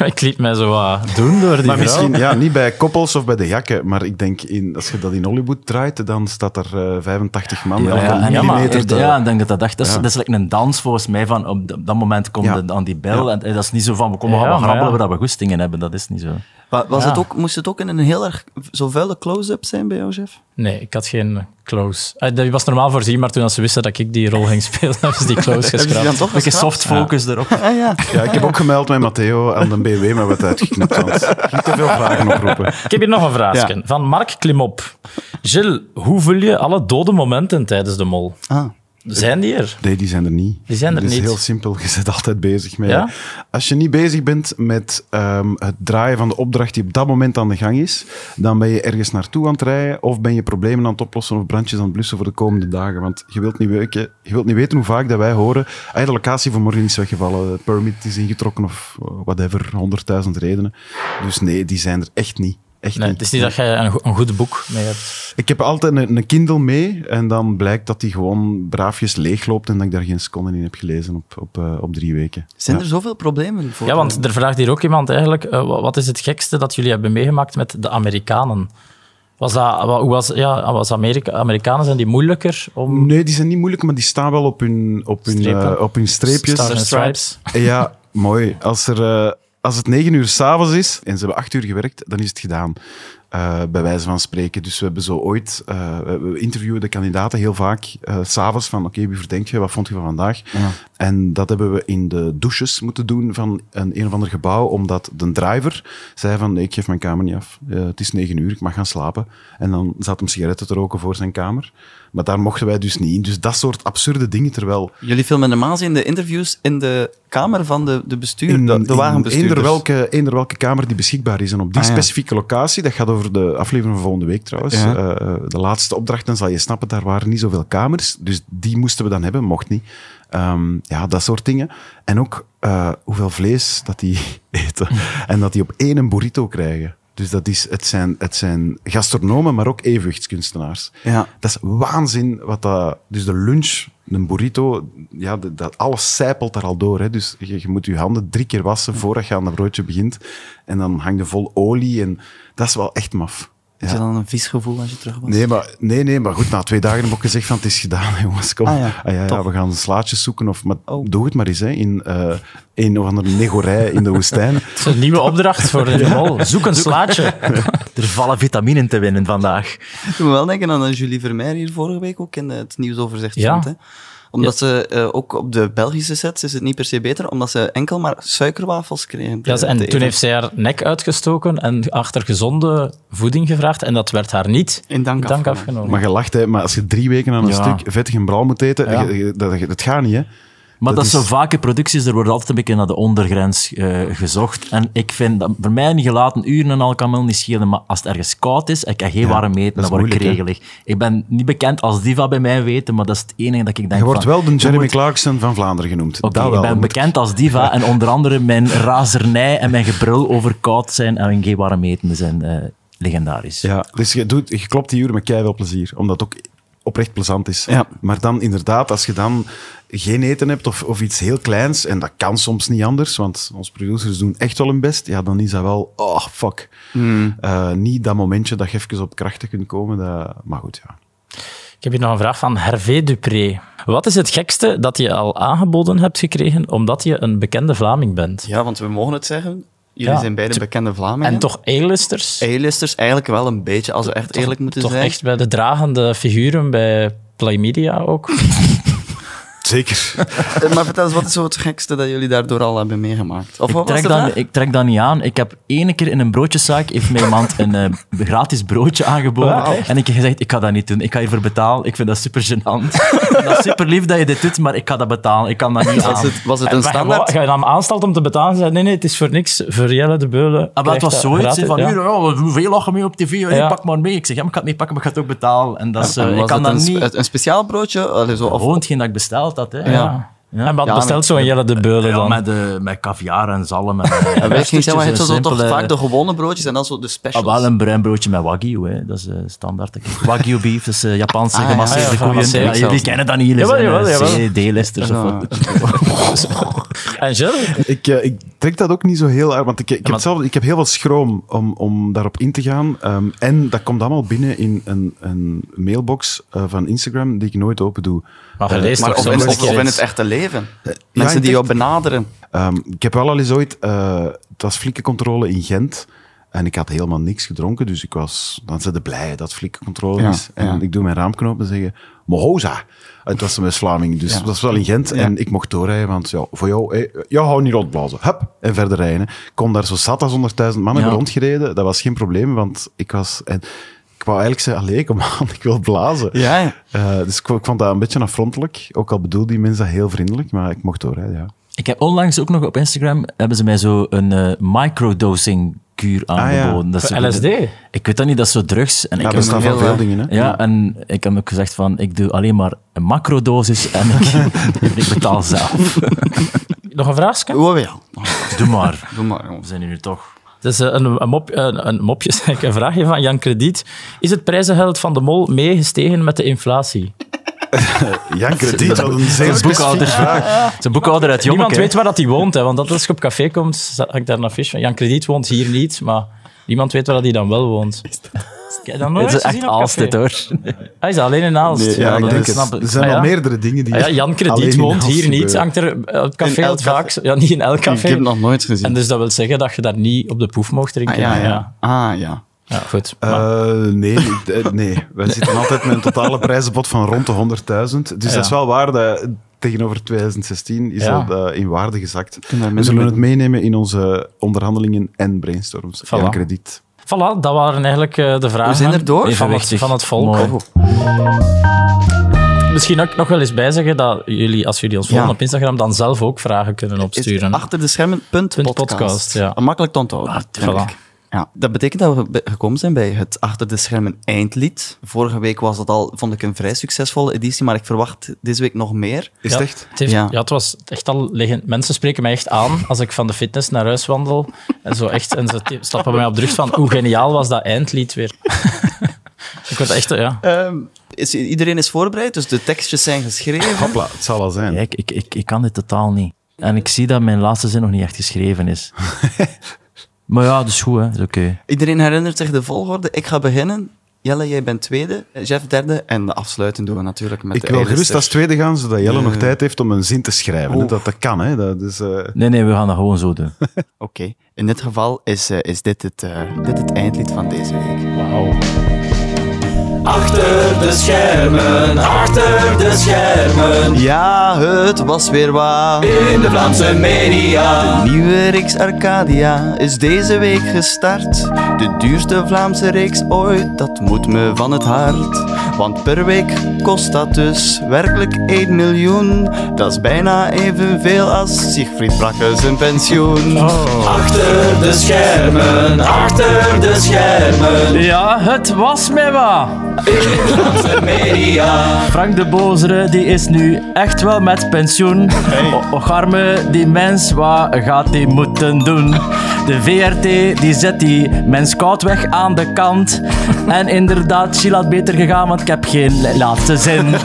F: ik liet mij zo wat doen door die
D: Maar
F: vrouw.
D: misschien ja, niet bij koppels of bij de jakken, maar ik denk in, als je dat in Hollywood draait, dan staat er eh, 85 man elke
C: Ja, en-
F: ja, maar-
D: millimeter te-
C: ja, ik denk dat dat echt... Dat is,
D: Ja.
C: dat is like een dans volgens mij van op dat dat moment komt
D: Ja.
C: het aan die bel. En, eh, dat is niet zo van we komen
F: Ja,
C: gaan wat
F: maar
C: grabbelen
F: ja.
C: waar we goestingen hebben. Dat is niet zo.
B: Wa- Was
F: Ja.
B: het ook, moest het ook in een heel erg zo vuile close-up zijn bij jou, Jeff?
F: Nee, ik had geen close. Eh, die was normaal voorzien, maar toen als ze wisten dat ik die rol ging spelen, hebben ze die close
B: Hebben ze die dan
F: geschrapt.
B: toch
C: Een beetje
B: geschrapt?
C: soft focus erop.
B: Ah, ja.
D: Ja, ik heb ook gemeld met Matteo aan de BW, maar werd uitgeknipt. Want ik ging te veel vragen oproepen.
F: Ik heb hier nog een vraagje. Van Mark Klimop. Gilles, hoe vul je alle dode momenten tijdens de mol?
B: Ah.
F: Zijn die er?
D: Nee, die zijn er niet.
F: Die zijn er
D: Het is
F: niet.
D: heel simpel, je zit altijd bezig mee.
F: Ja?
D: Als je niet bezig bent met ehm, het draaien van de opdracht die op dat moment aan de gang is, dan ben je ergens naartoe aan het rijden of ben je problemen aan het oplossen of brandjes aan het blussen voor de komende dagen. Want je wilt niet, weken, je wilt niet weten hoe vaak dat wij horen, "Ah, de locatie voor morgen is weggevallen, het permit is ingetrokken of eh, whatever, honderdduizend redenen. Dus nee, die zijn er echt niet. Echt
F: Nee,
D: niet.
F: dus het is niet dat jij een, go- een goed boek mee hebt.
D: Ik heb altijd een, een Kindle mee en dan blijkt dat die gewoon braafjes leegloopt en dat ik daar geen seconde in heb gelezen op, op, eh, op drie weken.
B: Zijn
D: Ja.
B: er zoveel problemen voor?
F: Ja, want er vraagt hier ook iemand eigenlijk, eh, wa- wat is het gekste dat jullie hebben meegemaakt met de Amerikanen? Was dat, wa- hoe was, ja, was Amerika, Amerikanen zijn die moeilijker om...
D: Nee, die zijn niet moeilijk, maar die staan wel op hun, op hun,
F: Strepen.
D: eh, op hun streepjes.
F: Stars and Stripes.
D: Ja, mooi. Als, er, eh, als het negen uur s'avonds is en ze hebben acht uur gewerkt, dan is het gedaan. eh, bij wijze van spreken. Dus we hebben zo ooit, eh, we interviewen de kandidaten heel vaak eh, s s'avonds van oké, wie verdenk je, wat vond je van vandaag? En dat hebben we in de douches moeten doen van een, een of ander gebouw, omdat de driver zei van nee, ik geef mijn kamer niet af. Eh, het is negen uur, ik mag gaan slapen. En dan zat hem sigaretten te roken voor zijn kamer. Maar daar mochten wij dus niet in. Dus dat soort absurde dingen, terwijl
B: eh, Jullie filmen normaal gezien de interviews in de kamer van de, de bestuur,
D: in-
B: de, de
D: in
B: wagenbestuurders.
D: eender welke, eender welke kamer die beschikbaar is. En op die
B: Ah, ja.
D: specifieke locatie, dat gaat over de aflevering van volgende week trouwens,
B: Ja.
D: eh, de laatste opdracht, dan zal je snappen, daar waren niet zoveel kamers. Dus die moesten we dan hebben, mocht niet. Ehm, ja, dat soort dingen. En ook eh, hoeveel vlees dat die eten. en dat die op één een burrito krijgen. Dus dat is, het, zijn, het zijn gastronomen, maar ook evenwichtskunstenaars.
B: Ja.
D: Dat is waanzin wat dat... Dus de lunch, een burrito, ja, de- dat, alles zijpelt daar al door. Hè. Dus je, je moet je handen drie keer wassen voordat je aan dat broodje begint. En dan hangt er vol olie en... Dat is wel echt maf. Ja.
B: Is dat dan een vies gevoel als je terug was?
D: Nee maar, nee, nee, maar goed, na twee dagen heb ik gezegd van het is gedaan, hè, jongens, kom.
B: Ah,
D: Ah,
B: ja.
D: ja. ja,
B: Tof.
D: we gaan slaatjes zoeken. Of, maar
B: Oh.
D: doe het maar eens hè, in eh, een of andere negorij in de woestijn.
F: Het is een nieuwe opdracht voor de mol. Zoek een slaatje.
C: Er vallen vitaminen te winnen vandaag.
B: Ik moet wel denken aan eh, Julie Vermeer hier vorige week ook in eh, het nieuwsoverzicht
F: Ja.
B: stond. Hè? Omdat ze eh, ook op de Belgische sets is het niet per se beter, omdat ze enkel maar suikerwafels kregen. te-
F: Ja, ze-
B: te
F: en toen
B: eten.
F: heeft zij haar nek uitgestoken en achter gezonde voeding gevraagd. En dat werd haar niet
B: In dank afgenomen.
F: afgenomen.
D: Maar je lacht, hè, maar als je drie weken aan een
C: Ja.
D: stuk vettig en braal moet eten,
C: Ja.
D: je- je- dat, dat, dat gaat niet, hè.
C: Maar dat,
D: Dat
C: is
D: is-
C: zo vaak in producties, er wordt altijd een beetje naar de ondergrens eh, gezocht. En ik vind, dat, voor mij een gelaten uren en al kan wel niet schelen, maar als het ergens koud is, en ik kan geen warm eten,
D: dat is
C: dan word ik
D: moeilijk,
C: regelig. Ik ben niet bekend als diva bij mij weten, maar dat is het enige dat ik denk
D: Je wordt
C: van,
D: wel de
C: we
D: Jeremy
C: moeten-
D: Clarkson van Vlaanderen genoemd.
C: Oké,
D: dat wel.
C: ik ben
D: maar-
C: bekend als diva en onder andere mijn razernij en mijn gebrul over koud zijn en geen warm eten zijn eh, legendarisch.
D: Ja, dus je, doet, je klopt die uren met keiveel plezier, omdat het ook oprecht plezant is.
B: Ja.
D: Maar dan inderdaad, als je dan geen eten hebt of, of iets heel kleins, en dat kan soms niet anders, want onze producers doen echt wel hun best, ja, dan is dat wel, oh, fuck. Eh, niet dat momentje dat je even op krachten kunt komen, dat, maar goed, ja.
F: Ik heb hier nog een vraag van Hervé Dupré. Wat is het gekste dat je al aangeboden hebt gekregen omdat je een bekende Vlaming bent?
B: Ja, want we mogen het zeggen. Jullie
F: Ja.
B: zijn beide bekende Vlamingen.
F: En toch A-listers?
B: A-listers eigenlijk wel een beetje, als we echt eerlijk moeten
F: toch
B: zijn.
F: echt bij de dragende figuren bij Playmedia ook?
D: Zeker.
B: Eh, Maar vertel eens, wat is zo het gekste dat jullie daardoor al hebben meegemaakt? Of
C: Ik
B: wat was
C: trek,
B: de
C: dan,
B: vraag?
C: ik trek dat niet aan. Ik heb ene keer in een broodjeszaak heeft mij iemand een eh, gratis broodje aangeboden. en ik heb gezegd, ik ga dat niet doen. Ik ga hiervoor betalen. Ik vind dat super gênant. dat is super lief dat je dit doet, maar ik ga dat betalen. Ik kan dat niet aan.
B: Was dus het, was het
F: En
B: een
F: waar-
B: standaard?
F: Ga je dan aanstalt om te betalen? Zei, nee, nee, het is voor niks. Voor Jelle de Beulen.
C: Ah, maar het
F: krijgt
C: was
F: dat
C: zoiets hè,
F: gratis,
C: van,
F: ja.
C: hier, oh, hoeveel lachen mee op tv? Ja,
F: Ja.
C: Pak maar mee. Ik zeg, ja, maar ik ga het meepakken, maar ik ga het ook betalen. En dat is, eh,
B: En was
C: ik kan
B: het
C: dat
B: een, spe-
C: niet...
B: een speciaal broodje? Allee, zo, of,
C: Gewoon hetgeen dat ik besteld had. Hè.
B: Ja.
F: Ja. En wat
B: Ja,
F: bestelt zo'n Jelle de Beulen
C: Ja,
F: dan?
C: met, de, met caviar en zalm. En, eh, en
B: Wij gingen zeggen, maar je hebt zo toch
C: dus simpele-
B: vaak de gewone broodjes en dan zo de
C: Ah,
B: specials.
C: wel een bruin broodje met wagyu, hè. dat is eh, standaard. denk ik. Wagyu beef, dat is eh, Japanse
B: Ah, ja,
C: gemasseerde
F: ja, ja,
C: koeien.
F: gemasseerd
C: Ja, jullie
F: zelfs.
C: kennen dat niet, jullie
F: Jawel, jawel,
C: zijn eh,
F: jawel.
C: CD-listers.
B: Ja.
F: En Gilles?
D: Ik, eh, ik trek dat ook niet zo heel uit, want ik, ik, heb,
F: maar-
D: zelf, ik heb heel veel schroom om, om daarop in te gaan. Ehm, en dat komt allemaal binnen in een, een mailbox eh, van Instagram die ik nooit open doe. Eh,
F: Maar je leest
B: maar
F: toch
B: of in,
F: soms
B: of,
F: iets.
B: of in het echte leven.
C: Eh,
D: in
B: Mensen
D: het
B: die jou benaderen.
D: Ehm, ik heb wel al eens ooit, eh het was flikkencontrole in Gent. En ik had helemaal niks gedronken, dus ik was, dan zijn de blij dat flikkencontrole
B: Ja,
D: is. En
B: ja.
D: ik doe mijn raamknop en zeggen, mohoza. Het was een West-Vlaming, dus dat was wel in Gent. En ik mocht doorrijden, want ja, voor jou, hé, jou hou niet rondblazen. Hup, en verder rijden. Ik kon daar zo zat als 100.000 man hebben
C: Ja.
D: rondgereden. Dat was geen probleem, want ik was... En, ik wou eigenlijk zeggen, allee, kom aan, ik wil blazen.
B: Ja, ja.
D: Eh, dus ik, ik vond dat een beetje afrontelijk. Ook al bedoelde die mensen dat heel vriendelijk, maar ik mocht doorrijden, ja.
C: Ik heb onlangs ook nog op Instagram, hebben ze mij zo een eh, microdosing kuur aangeboden. Dat is zo-
F: LSD?
C: Ik weet dat niet, dat is zo drugs. En ik
D: Ja,
C: heb
D: er staan van
B: heel,
D: veel
B: eh,
D: dingen, hè.
C: Ja, en ik heb ook gezegd van, ik doe alleen maar een macrodosis en ik, ik betaal zelf.
F: Nog een vraagje?
B: Oh ja, Oh,
C: Doe maar.
B: doe maar,
C: We
B: jongens.
C: zijn hier nu toch.
F: Dus eh, een, een, mop, een, een mopje, zeg ik, een vraagje van Jan Krediet. Is het prijzengeld van de mol meegestegen met de inflatie?
D: Jan Krediet, wat een zeer
C: Een boekhouder.
D: specifieke vraag.
C: Het is een boekhouder uit Jommeke.
F: Niemand weet waar dat hij woont, hè, want dat als je op café komt, hangt daar een affiche van. Jan Krediet woont hier niet, maar niemand weet waar dat hij dan wel woont. Kijk, dat nooit
C: Het is
F: gezien
C: echt
F: op
C: Aalst
F: café?
C: dit, hoor.
F: Hij Ah, is alleen in Aalst.
D: Ja, ik denk
C: ik
D: het.
C: snap het.
D: Er zijn
F: Ah,
D: al
F: ja.
D: meerdere dingen die...
F: Ah ja, Jan
D: alleen
F: Krediet
D: in
F: woont
D: Hans
F: hier niet,
D: gebeuren.
F: hangt er eh, het
B: In
F: café
B: elk
F: vaak. Ja, niet in elk
B: Ik heb
F: café.
B: het nog nooit gezien.
F: En dus dat wil zeggen dat je daar niet op de proef mocht drinken.
B: ah, ja, ja.
F: ja.
B: Ah, ja.
F: Ja, goed.
D: Eh, nee, niet- eh, nee, wij zitten altijd met een totale prijzenbod van rond de 100.000. Dus
F: Ja.
D: dat is wel waar. Dat, tegenover 2016 is
F: Ja.
D: dat eh, in waarde gezakt.
B: daar
D: We
B: minder
D: zullen
B: mee
D: het meenemen in onze onderhandelingen en brainstorms. Jan Krediet.
F: Voilà, dat waren eigenlijk eh, de vragen
B: We zijn er door.
F: van, het,
C: Evenwichtig.
F: van het volk.
C: Mooi.
F: Misschien ook nog wel eens bijzeggen dat jullie, als jullie ons volgen
B: Ja.
F: op Instagram, dan zelf ook vragen kunnen
B: Is
F: opsturen.
B: Achter de schermen, punt,
F: Punt
B: podcast.
F: podcast, ja.
B: Makkelijk te onthouden.
D: Ah,
B: denk
F: voilà.
B: ik. Ja, dat betekent dat we be- gekomen zijn bij het Achter de Schermen eindlied. Vorige week was dat al, vond ik, een vrij succesvolle editie, maar ik verwacht deze week nog meer.
D: Is
F: ja,
D: het echt?
F: heeft- ja.
B: Ja.
F: het was echt al legend. Mensen spreken mij echt aan als ik van de fitness naar huis wandel. En, zo echt, en ze t- stappen mij op de rug van hoe geniaal was dat eindlied weer. ik word echt, ja.
B: Ehm, Is, iedereen is voorbereid, dus de tekstjes zijn geschreven.
D: Hopla, het zal wel zijn.
C: Kijk, ik, ik, ik kan dit totaal niet. En ik zie dat mijn laatste zin nog niet echt geschreven is. maar ja, dat is goed, hè. Dat is oké.
B: Iedereen herinnert zich de volgorde. Ik ga beginnen. Jelle, jij bent tweede. Jeff derde. En de afsluiten doen we natuurlijk met
D: Ik
B: de
D: wil
B: eilister.
D: gerust als tweede gaan, zodat Jelle nog
B: Eh.
D: tijd heeft om een zin te schrijven. hè.
B: Oeh.
D: Dat, dat kan, hè. Dat is, eh,
C: Nee, nee, we gaan dat gewoon zo doen.
B: Oké. In dit geval is, eh, is dit, het, eh, dit het eindlied van deze week.
E: Achter de schermen, achter de schermen.
B: Ja, het was weer waar.
E: In de Vlaamse media.
B: Nieuwe reeks Arcadia is deze week gestart. De duurste Vlaamse reeks ooit, dat moet me van het hart. Want per week kost dat dus werkelijk 1 miljoen. Dat is bijna evenveel als Siegfried Brakke zijn pensioen.
E: Achter de schermen, achter de schermen.
C: Ja, het was mij wat.
E: De media.
C: Frank de Bozere, die is nu echt wel met pensioen. O- Och arme, die mens, wat gaat die moeten doen? De VRT, die zet die mens koud weg aan de kant. En inderdaad, Chila had beter gegaan, want ik heb geen laatste zin.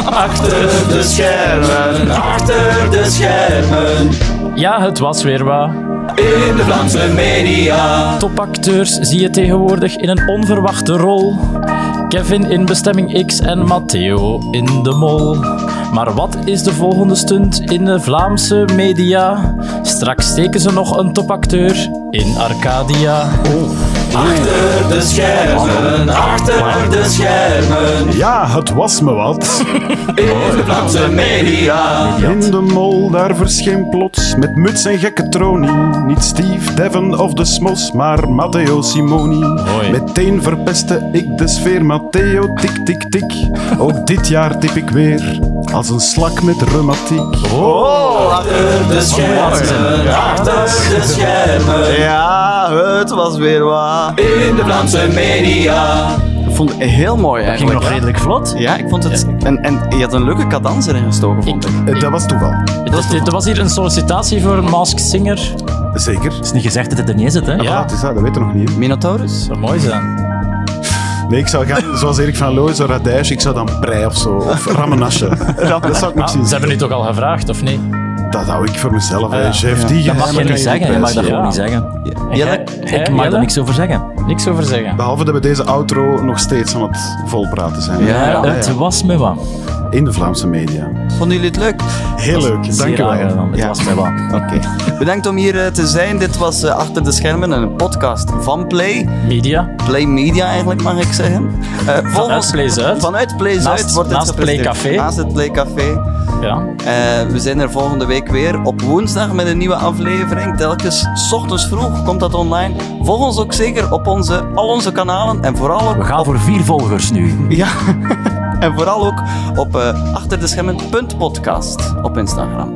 E: Achter de schermen, achter de schermen.
F: ja, het was weer wat.
E: In de Vlaamse media.
F: Topacteurs zie je tegenwoordig in een onverwachte rol. Kevin in Bestemming X en Matteo in De Mol. Maar wat is de volgende stunt in de Vlaamse media? Straks steken ze nog een topacteur in Arcadia.
E: Achter de schermen, achter de schermen.
D: Ja, het was me wat.
E: In de Vlaamse media.
D: In de mol, daar verscheen plots met muts en gekke tronie. Niet Steve, Devon of de Smos, maar Matteo Simoni. Meteen verpeste ik de sfeer, Matteo, tik, tik, tik. Ook dit jaar tip ik weer als een slak met reumatiek.
B: Oh.
E: Achter de schermen, achter de schermen.
B: Ja, het was weer waar.
E: In de Vlaamse media.
B: vond het heel mooi
C: ging
B: eigenlijk.
C: nog redelijk vlot.
B: Ja, ik vond het... En, en je had een leuke cadans erin gestoken, vond ik.
D: Eh, dat was toeval.
F: Het was, dit was hier een sollicitatie voor een Masked Singer. Dat
D: Zeker.
C: Het is niet gezegd dat het er niet is, het, hè?
D: Ja. het is dat, dat weet je nog niet. hè.
B: Minotaurus?
F: zou mooi zijn.
D: Nee, ik zou gaan, zoals Erik van Looij, zo Radijs, ik zou dan Prei of zo, of Ramenasje. Dat, dat zou ik nog zien.
F: Ze hebben nu toch al gevraagd, of niet?
D: Dat hou ik voor mezelf, hè. Chef, die
C: Ah Dat mag
D: geheimen
C: je
D: kan
C: niet zeggen. Je
D: niet
C: mag dat
D: prijzen.
C: gewoon
F: Ja.
C: niet zeggen.
B: Jelle?
C: Ik mag daar niks over zeggen.
F: niks over zeggen.
D: Behalve dat we deze outro nog steeds aan het volpraten zijn.
B: Ja, ja.
D: ja.
C: Het was me wat.
D: In de Vlaamse media.
B: Vonden jullie het leuk?
D: Heel leuk, dank je
C: Zeer
D: wel.
C: aangenaam. Het
D: Ja.
C: was me wat.
D: Oké.
B: Bedankt om hier eh, te zijn. Dit was eh, Achter de Schermen, een podcast van Play.
F: Media.
B: Play Media eigenlijk, mag ik zeggen. Eh volg ons-
F: Play Zuid.
B: Vanuit Play
F: Naast-
B: Zuid wordt
F: naast
B: het
F: Play
B: gepresenteerd.
F: Café.
B: Naast het Play Café.
F: Ja.
B: Eh, we zijn er volgende week weer op woensdag met een nieuwe aflevering. Telkens 's ochtends vroeg komt dat online. Volg ons ook zeker op onze, al onze kanalen en vooral
C: We
B: ook,
C: gaan voor vier volgers nu.
B: ja, en vooral ook op eh achterdeschermen.podcast op Instagram.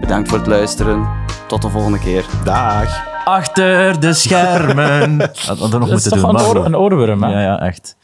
B: Bedankt voor het luisteren. Tot de volgende keer.
D: Dag.
C: Achter de schermen. Had- Hadden we nog
F: Dat is
C: moeten
F: toch
C: doen.
F: een,
C: maar
F: oor,
C: goed.
F: een oorworm, hè?
C: Ja, ja, echt.